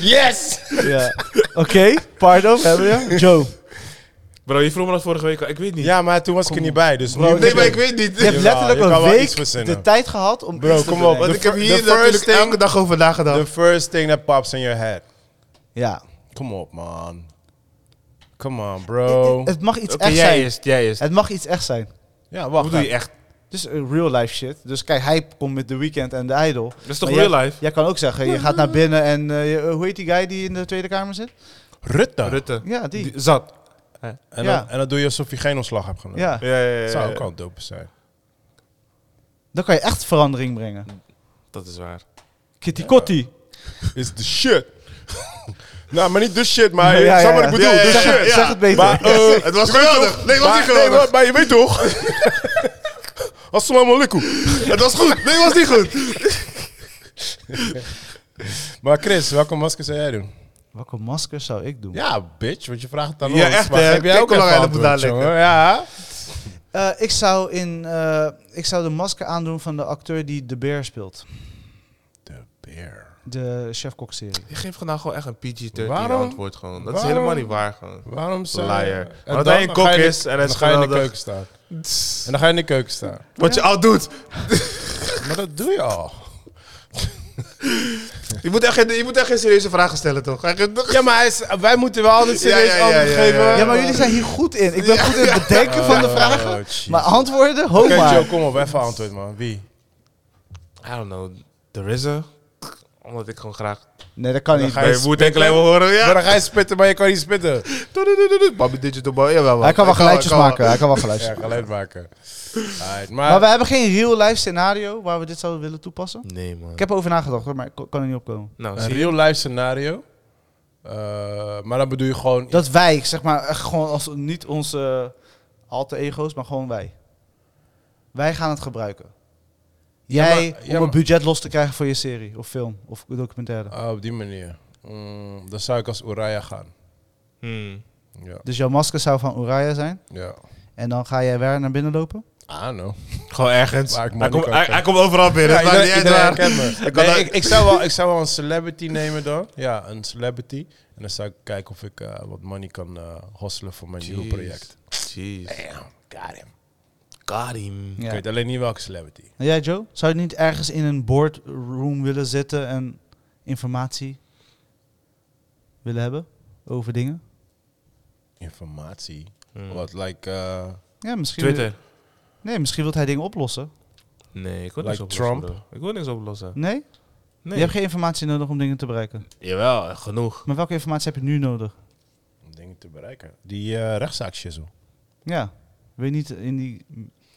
S1: Yes!
S3: Ja. Oké, pardon, we hebben je. Joe,
S2: Bro, je vroeg me dat vorige week al. Ik weet niet.
S1: Ja, maar toen was ik er niet bij, dus
S3: Bro,
S1: nu...
S2: nee, maar ik weet
S3: je
S2: niet.
S1: Jawel,
S3: hebt letterlijk
S1: je kan
S3: een
S1: wel iets
S3: week
S1: verzinnen.
S3: de tijd gehad om
S1: Bro,
S3: iets te
S1: kom op.
S3: bedenken.
S1: De
S2: Want ik heb
S1: fir-
S2: hier
S1: the first
S2: natuurlijk
S1: thing-
S2: elke dag over nagedacht.
S1: The first thing that pops in your head.
S3: Ja.
S1: Come op, man. Come on, bro.
S3: Het mag iets
S2: Oké,
S3: echt
S2: jij
S3: zijn.
S2: is, jij is.
S3: Het mag iets echt zijn.
S1: Ja,
S2: Wat
S1: wacht.
S2: bedoel je
S1: even.
S2: echt?
S3: Dus eh, real life shit. Dus kijk, hij komt met The Weeknd en The Idol.
S2: Dat is toch
S3: Maar
S2: real
S3: jij,
S2: life?
S3: Jij kan ook zeggen, je gaat naar binnen en eh, je- eh, hoe heet die guy die in de Tweede Kamer zit?
S1: Rutte.
S2: Rutte.
S3: Ja, die.
S2: Die- Zat.
S1: En,
S3: Ja.
S1: dan, en dan doe je alsof je geen ontslag hebt genomen.
S3: Ja,
S2: Ja, ja, ja,
S1: Dat
S2: ja.
S1: zou ook al dope zijn.
S3: dan kan je echt verandering brengen.
S4: Dat is waar.
S3: Kitty Kotti.
S1: Is de shit. nou, maar niet de shit, maar
S3: Ja, ja,
S1: snap wat
S3: ja.
S1: ik bedoel.
S4: Ja, ja,
S1: de
S4: ja.
S3: Zeg,
S1: shit.
S3: het, zeg het beter.
S1: Maar, eh,
S4: Het was
S1: maar-
S4: geweldig. Nee, het was niet
S1: maar-
S4: geweldig.
S1: maar- Maar je weet toch? Assalamu alaikum.
S4: Het was goed. Nee, het was niet goed.
S1: Maar Chris, welke masker zou jij doen?
S3: Welke masker zou ik doen?
S1: Ja, bitch, want je vraagt het dan
S2: Ja,
S1: ons.
S2: echt,
S1: Maar
S2: hè?
S1: Heb jij
S2: Kijk
S1: ook
S2: hoe
S1: een
S2: lang hij
S1: antwoord,
S2: dat moet
S1: jongen?
S2: uitleggen.
S1: Ja.
S3: Eh, ik, zou in, eh, ik zou de masker aandoen van de acteur die de beer speelt.
S1: De beer.
S3: De chef-kok-serie.
S2: Je geeft nou gewoon echt een PG-13
S1: Waarom?
S2: antwoord gewoon. Dat
S1: Waarom?
S2: is helemaal niet waar gewoon.
S1: Waarom zou
S2: Liar.
S1: En
S2: Want
S1: dan-
S2: hij een
S1: dan
S2: kok
S1: ga je-
S2: is en hij is
S1: Dan ga je in de
S2: geweldig.
S1: keuken staan. En dan ga je in de keuken staan.
S2: Wat je al doet.
S1: Maar dat doe je al.
S2: Je moet echt, geen- je moet echt geen serieuze vragen stellen toch? Ga je-
S1: Ja, maar hij is- wij moeten wel altijd serieus
S2: Ja, ja, ja,
S1: antwoord
S2: ja, ja,
S1: geven. Oh,
S2: ja.
S3: Ja, maar jullie zijn hier goed in. Ik ben goed in het bedenken van de vragen. Maar antwoorden, ho
S1: Oké,
S3: maar.
S1: Joe, kom op, even antwoord, man. Wie?
S2: I don't know. The RZA? Omdat ik gewoon graag...
S3: Nee, dat kan
S1: Dan
S3: niet.
S1: ga je
S2: je moet enkel even horen.
S1: Maar
S2: Ja.
S1: dan ga je spitten, maar je kan niet spitten.
S2: Babi Digital Boy. Jawel. man.
S3: Hij kan wel geluidjes
S2: hij kan wel.
S3: maken. Hij kan wel
S1: Ja,
S3: geluidjes maken.
S1: geluid maken. Alright,
S3: Maar
S1: maar
S3: we hebben geen real-life scenario waar we dit zouden willen toepassen.
S2: Nee man.
S3: Ik heb erover nagedacht, hoor, maar ik kon- kan er niet opkomen.
S2: Nou,
S1: een
S2: zie je.
S1: real life scenario. Eh, maar dan bedoel je gewoon...
S3: Dat wij, zeg maar, echt gewoon als niet onze alter ego's, maar gewoon wij. Wij gaan het gebruiken. Jij
S1: maar- ja,
S3: om
S1: maar-
S3: een budget los te krijgen voor je serie of film of documentaire.
S1: Ah, op die manier. Mm, dan zou ik als Uraya gaan.
S2: Hmm.
S1: Ja,
S3: Dus jouw masker zou van Uraya zijn.
S1: ja.
S3: En dan ga jij waar naar binnen lopen.
S1: I don't know.
S2: Gewoon ergens.
S1: Maar ik
S2: Hij
S1: mag
S2: komt
S1: niet
S2: hij-
S1: koken.
S2: hij komt overal binnen. Het
S1: Ja,
S2: maakt
S1: iedereen,
S2: niet uit
S1: iedereen
S2: waar.
S1: herkent me.
S2: Ik kan
S1: Nee,
S2: daar-
S1: ik, ik, zou wel, ik zou wel een celebrity nemen dan. Ja, een celebrity. En dan zou ik kijken of ik eh, wat money kan eh hosselen voor mijn nieuwe project.
S2: Jeez.
S1: Damn, got him.
S2: Got him.
S3: Ja.
S1: Ik weet alleen niet welke celebrity.
S3: En jij, Nou Joe? Zou je niet ergens in een boardroom willen zitten en informatie willen hebben over dingen?
S1: Informatie.
S2: Hmm.
S1: Wat, like, eh,
S3: Ja, misschien.
S2: Twitter.
S3: Nee, misschien wilt hij dingen oplossen.
S2: Nee, ik wil
S1: Like
S2: niks oplossen.
S1: Trump?
S2: bro. Ik wil niks oplossen.
S3: Nee?
S2: Nee.
S3: Je hebt geen informatie nodig om dingen te bereiken.
S2: Jawel, genoeg.
S3: Maar welke informatie heb je nu nodig?
S1: om dingen te bereiken. Die eh rechtszaak shizzle.
S3: Ja. Wil je niet in die...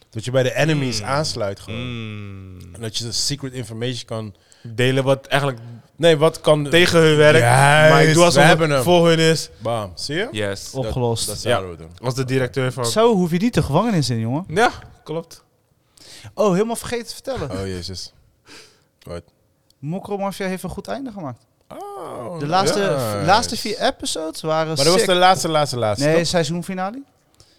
S1: Dat je bij de enemies aansluit gewoon.
S2: Hmm.
S1: En dat je de secret information kan...
S2: Delen wat eigenlijk
S1: Nee, wat kan...
S2: tegen hun werk.
S1: Juist,
S2: maar ik doe
S1: we
S2: alsof
S1: hebben hem.
S2: het voor hun is.
S1: Bam, zie je?
S2: Yes.
S1: Dat-
S3: Opgelost.
S1: Dat zouden we doen.
S2: Als de directeur van...
S3: Zo hoef je niet de gevangenis in, jongen.
S2: Ja, klopt.
S3: Oh, helemaal vergeten te vertellen.
S1: Oh, jezus. Wat?
S3: Mokro Mafia heeft een goed einde gemaakt.
S1: Oh,
S3: De laatste,
S1: nice.
S3: laatste vier episodes waren
S1: Maar dat was
S3: sick.
S1: de laatste, laatste, laatste.
S3: Nee,
S1: toch?
S3: seizoenfinale.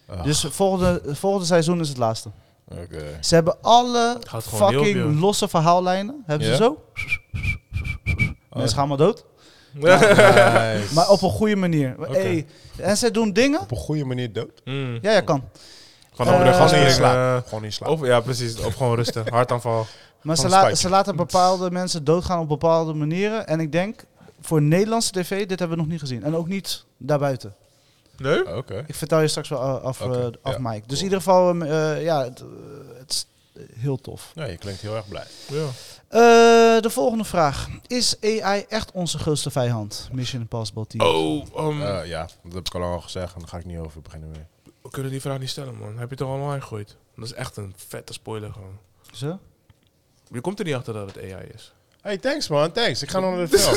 S1: Ach.
S3: Dus volgende, volgende seizoen is het laatste.
S1: Oké.
S3: Ze hebben alle
S2: Gaat gewoon niet op,
S3: fucking
S2: joh.
S3: losse verhaallijnen. Hebben
S1: Ja. Oh.
S3: ze zo. Mensen gaan maar dood.
S1: Ah, Nice.
S3: Maar op een goede manier. Hey, en ze doen dingen.
S1: Op een goede manier dood.
S2: Mm.
S3: Ja, ja, kan.
S2: Van
S3: Eh,
S2: over de gas
S1: Gewoon in
S2: in
S1: slaap. Gewoon in slaap.
S2: Of, ja, precies. Of gewoon rustig. Hartaanval.
S3: Maar ze,
S1: Van
S3: la-
S1: Spike.
S3: ze laten bepaalde mensen doodgaan op bepaalde manieren. En ik denk, voor Nederlandse tv, dit hebben we nog niet gezien. En ook niet daarbuiten.
S2: Nee?
S1: Oké.
S3: Ik vertel je straks wel eh, af, eh,
S1: Oké,
S3: af
S1: ja,
S3: Mike.
S1: cool.
S3: Dus in ieder geval, ehm, eh, ja, het, eh, het is heel tof.
S1: Nou, je klinkt heel erg blij.
S2: Ja.
S3: Eh, de volgende vraag. Is AI echt onze grootste vijand? Mission Impossible Team.
S2: Oh, um,
S1: Eh, ja, dat heb ik al lang al gezegd en daar ga ik niet over beginnen meer.
S2: we kunnen die vraag niet stellen, man. Heb je het er al online gegooid? Dat is echt een vette spoiler gewoon.
S3: Zo?
S2: Je komt er niet achter dat het AI is.
S1: Hey, thanks man, thanks. Ik ga nog naar de film.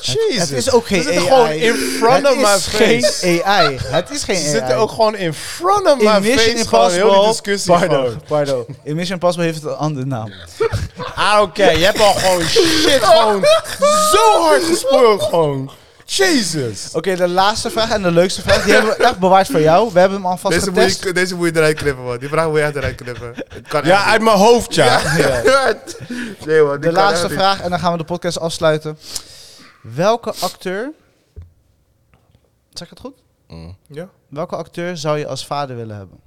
S1: Jezus.
S3: Het is ook geen
S1: Ze zitten
S3: AI.
S1: gewoon in front
S3: het
S1: of my
S3: is geen
S1: face.
S3: AI. Het is geen
S1: Ze
S3: AI.
S1: zitten ook gewoon in front of
S3: in
S1: my
S3: Mission
S1: face. Gewoon heel die
S3: Impossible.
S1: discussie
S3: Pardon,
S1: gewoon.
S3: pardon. In Mission Impossible heeft het een andere naam.
S1: I don't care. Ah, Je hebt al gewoon shit gewoon zo hard gespoord gewoon. Jesus.
S3: Oké, de laatste vraag en de leukste vraag. Die hebben we echt bewaard voor jou. We hebben hem alvast
S2: Deze moet,
S3: getest.
S2: je, deze moet je eruit knippen, man. Die vraag moet je echt eruit knippen. Het kan
S1: Ja,
S2: echt
S1: uit mijn hoofd ja.
S3: Ja.
S2: niet. Nee, man.
S3: De laatste vraag en dan gaan we de podcast afsluiten. Welke acteur... Zeg ik het goed?
S1: Mm.
S2: Ja?
S3: Welke acteur zou je als vader willen hebben?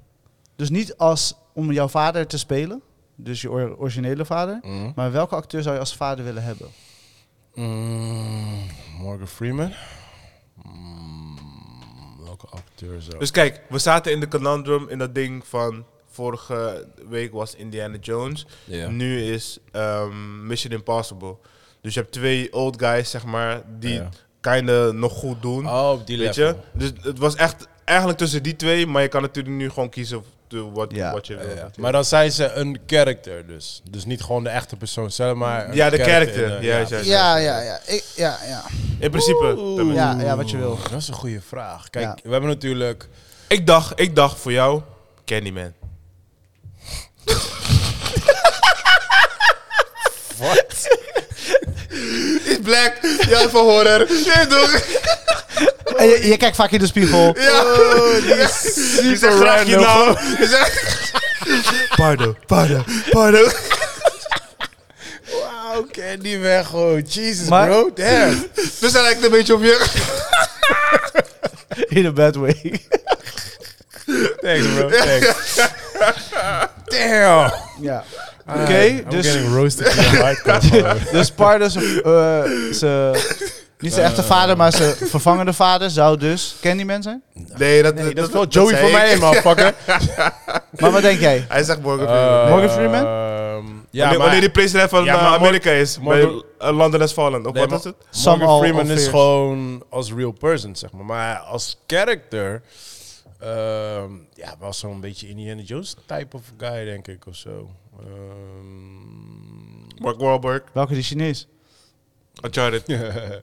S3: Dus niet als om jouw vader te spelen, dus je or- originele vader.
S1: Mm.
S3: Maar welke acteur zou je als vader willen hebben?
S1: Mm, Morgan Freeman. Mm, welke acteur zou...
S2: Dus kijk, we zaten in de conundrum in dat ding van vorige week was Indiana Jones.
S1: Ja.
S2: Nu is ehm, Mission Impossible. Dus je hebt twee old guys, zeg maar, die
S1: Ja.
S2: kinder nog goed doen.
S1: Oh, op die
S2: weet
S1: level.
S2: je? Dus het was echt eigenlijk tussen die twee, maar je kan natuurlijk nu gewoon kiezen to- wat,
S3: Ja.
S2: wat je wil.
S1: Ja, ja. Maar dan zijn ze een character dus. Dus niet gewoon de echte persoon zelf, maar... een
S2: Ja, de
S1: in
S2: character.
S1: de-
S2: Ja, ja.
S3: Ja, ja, ja. Ik, ja, ja.
S2: In principe. tenminste.
S3: ja. Ja, wat je wil.
S1: Dat is een goede vraag. Kijk,
S3: Ja.
S1: we hebben natuurlijk...
S2: Ik dacht, ik dacht voor jou, Candyman.
S1: Wat?
S2: Is black, jij van horror. Je toch?
S3: En je, je kijkt vaak in de spiegel.
S2: Ja. Je zegt graag je naam. Je zegt...
S3: Pardon, pardon.
S2: Pardon.
S1: Wauw, Candy weg, gewoon. Jesus,
S3: Maar-
S1: bro. Damn.
S2: Dus hij lijkt een beetje op je.
S3: In a bad way.
S1: Thanks, bro. Thanks. Damn.
S3: ja. Oké,
S1: I'm
S3: dus,
S1: getting roasted in the hardcore.
S3: dus Pardo, ze- eh, ze- niet zijn echte vader, maar zijn vervangende vader zou dus Candyman zijn.
S2: Nee, dat,
S1: Nee, dat is wel Joey voor mij, motherfucker.
S3: Maar wat denk jij?
S2: Hij zegt Morgan Freeman.
S1: Eh,
S3: Morgan Freeman?
S1: ehm,
S2: Ja,
S1: ja,
S2: wanneer,
S1: maar
S2: wanneer die president van
S1: Ja,
S2: eh,
S1: maar Mor-
S2: Amerika is.
S1: Morgan-
S2: bij eh, London Has Fallen. Of
S1: Nee,
S2: wat
S1: maar-
S2: is het?
S3: Sam
S1: Morgan
S3: al-
S1: Freeman
S3: al
S1: is
S3: fears.
S1: gewoon als real person, zeg maar. Maar als character... ehm ja, wel zo'n beetje Indiana Jones type of guy, denk ik, of zo. Ehm,
S2: Mark Wahlberg.
S3: Welke die Chinees?
S2: Uncharted.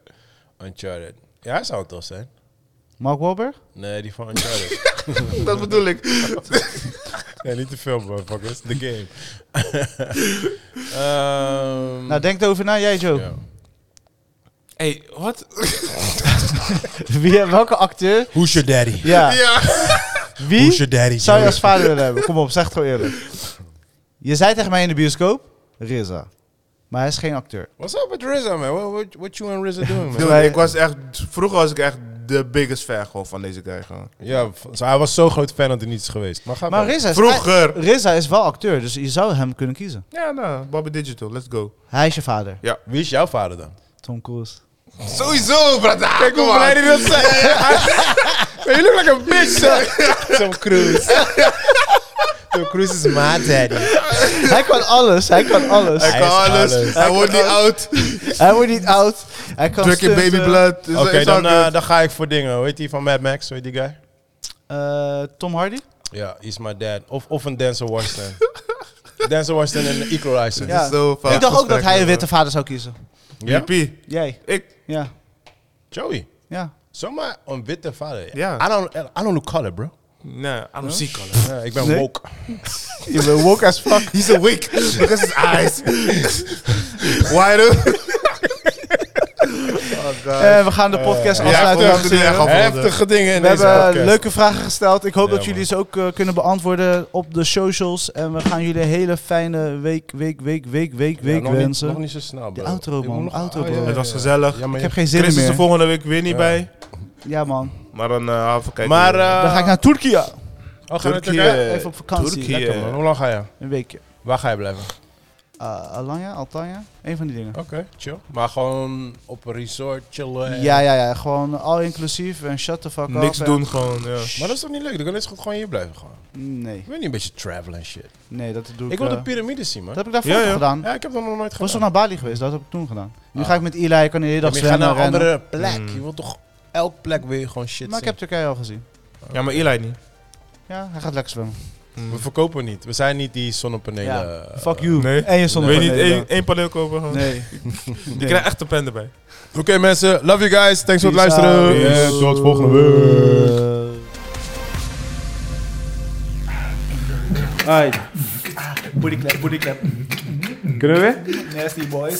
S1: Uncharted. Ja, hij zou het toch zijn?
S3: Mark Wahlberg?
S1: Nee, die van Uncharted.
S2: dat bedoel ik.
S1: nee, niet de film, motherfuckers. De game. Ehm,
S3: Nou, denk erover na, jij Joe.
S1: ja.
S2: hey, wat?
S3: Wie, welke acteur?
S1: Who's your daddy?
S3: Ja.
S2: Ja.
S1: Who's
S3: Wie
S1: your daddy?
S3: zou je
S1: Joe?
S3: als vader willen hebben? Kom op, zeg het gewoon eerlijk. Je zei tegen mij in de bioscoop, Rizza. Maar hij is geen acteur.
S1: What's up with RZA, man? What, what, what you and RZA doing, man?
S2: Dude,
S3: wij-
S2: ik was echt... Vroeger was ik echt de biggest fan gewoon van deze guy. Gewoon.
S1: ja, v- zo, hij was zo groot fan dat hij niet is geweest. Maar ga
S3: Maar
S1: verder.
S3: Rizza is,
S2: Vroeger.
S3: Rizza is wel acteur, dus je zou hem kunnen kiezen.
S2: Ja, nou, Bobby Digital, let's go.
S3: Hij is je vader,
S1: Wie is jouw vader dan?
S3: Tom Cruise.
S2: Sowieso, brada. Kijk
S1: hoe blij die
S2: dat zijn.
S1: You look like a bitch, Tom Cruise. Tom Cruise is my daddy.
S3: hij kan alles, hij kan alles.
S2: Hij
S1: Hij is
S2: kan alles.
S1: alles.
S2: Hij wordt niet oud.
S3: Hij wordt niet oud. Hij kan
S2: Druk in
S3: stunten.
S2: baby blood.
S1: Oké, dan, eh, dan ga ik voor dingen. Hoe heet die van Mad Max? Weet die guy?
S3: Eh, Tom Hardy?
S1: Ja, he's my dad. Of, of een Denzel Washington. Denzel Washington en een Equalizer.
S3: Ja.
S2: zo vaak
S3: Ik dacht ook dat
S2: gesprek,
S3: hij een
S2: hoor.
S3: witte vader zou kiezen.
S1: eh, Ja?
S2: Pie,
S3: Jij?
S2: Ik.
S3: Ja.
S1: Joey,
S3: Ja.
S1: zomaar een witte vader.
S2: Ja.
S1: I don't, I don't look color, bro.
S2: Nee, I'm a seeker.
S1: Ja, ik ben
S3: Nee.
S1: woke.
S3: Je bent woke as fuck.
S2: He's awake because his eyes wider.
S3: Eh, we gaan de podcast afsluiten.
S2: ja,
S3: dames
S2: goed,
S3: en heren.
S2: ja, goed.
S1: Heftige dingen in
S3: We
S1: deze
S3: hebben
S1: podcast.
S3: leuke vragen gesteld. Ik hoop
S1: Ja,
S3: dat jullie ze ook eh, kunnen beantwoorden op de socials. En we gaan jullie een hele fijne week, week, week, week, week,
S1: Ja,
S3: week
S1: nog
S3: wensen.
S1: Niet, nog niet zo snel, bro.
S3: De outro,
S1: Ik moet
S3: man,
S1: nog-
S3: outro,
S1: ah, ja,
S3: bro.
S1: ja,
S2: Het was
S1: ja.
S2: gezellig.
S1: Ja, maar
S3: ik
S1: je-
S3: heb geen zin
S2: Chris is
S3: meer.
S2: er volgende week weer niet
S1: Ja.
S2: bij.
S3: Ja man.
S2: Maar dan eh even kijken.
S1: Maar, eh,
S3: Dan ga ik naar Turkije.
S1: oh, gaan we naar
S2: Turkije.
S1: Turkije?
S3: Even op vakantie.
S2: Turkije.
S3: Lekker.
S1: Lekker, man. Hoe lang ga je?
S3: Een weekje.
S1: Waar ga je blijven?
S3: Eh, Alanya, Altanya. Een van die dingen.
S1: Oké, chill. Maar gewoon op een resort chillen. en-
S3: Ja, ja, ja. Gewoon al inclusief en shut the fuck up.
S2: niks
S3: en-
S2: doen gewoon. Ja.
S1: Maar dat is toch niet leuk? Dan kan je goed gewoon hier blijven gewoon.
S3: Nee,
S1: Ik weet niet, een beetje travel en shit.
S3: nee, dat doe ik.
S1: Ik wil
S3: eh,
S1: de piramides zien, man.
S3: dat heb ik daarvoor
S2: Ja,
S3: toch
S2: ja.
S3: gedaan.
S1: Ja, ik heb dat nog nooit
S3: Ik was
S1: gedaan.
S3: toch naar Bali geweest, dat heb ik toen gedaan. Nu
S1: Ah.
S3: ga ik met Eli, ik kan de hele dag
S1: Ja, maar je gaat
S3: zwemmen,
S1: naar een
S3: rennen. Hmm.
S1: andere plek.
S2: Mm.
S1: Je wilt toch elk plek weer gewoon shit
S3: Maar ik heb Turkije al gezien.
S2: ja, maar Eli niet.
S3: Ja, hij gaat lekker zwemmen.
S1: zien? We verkopen niet. We zijn niet die zonnepanelen. eh,
S3: Fuck you.
S2: nee.
S3: En je
S2: Wil je niet
S3: zonnepanelen.
S2: één, één paneel kopen? Gewoon?
S3: Nee.
S2: Je krijgt echt een pen erbij.
S1: Oké mensen, love you guys. Thanks voor het
S3: Eh. Peace
S1: luisteren.
S3: out.
S1: En tot volgende week.
S5: Alright. Booty clap, booty clap.
S4: Kunnen we weer?
S5: Nasty boys.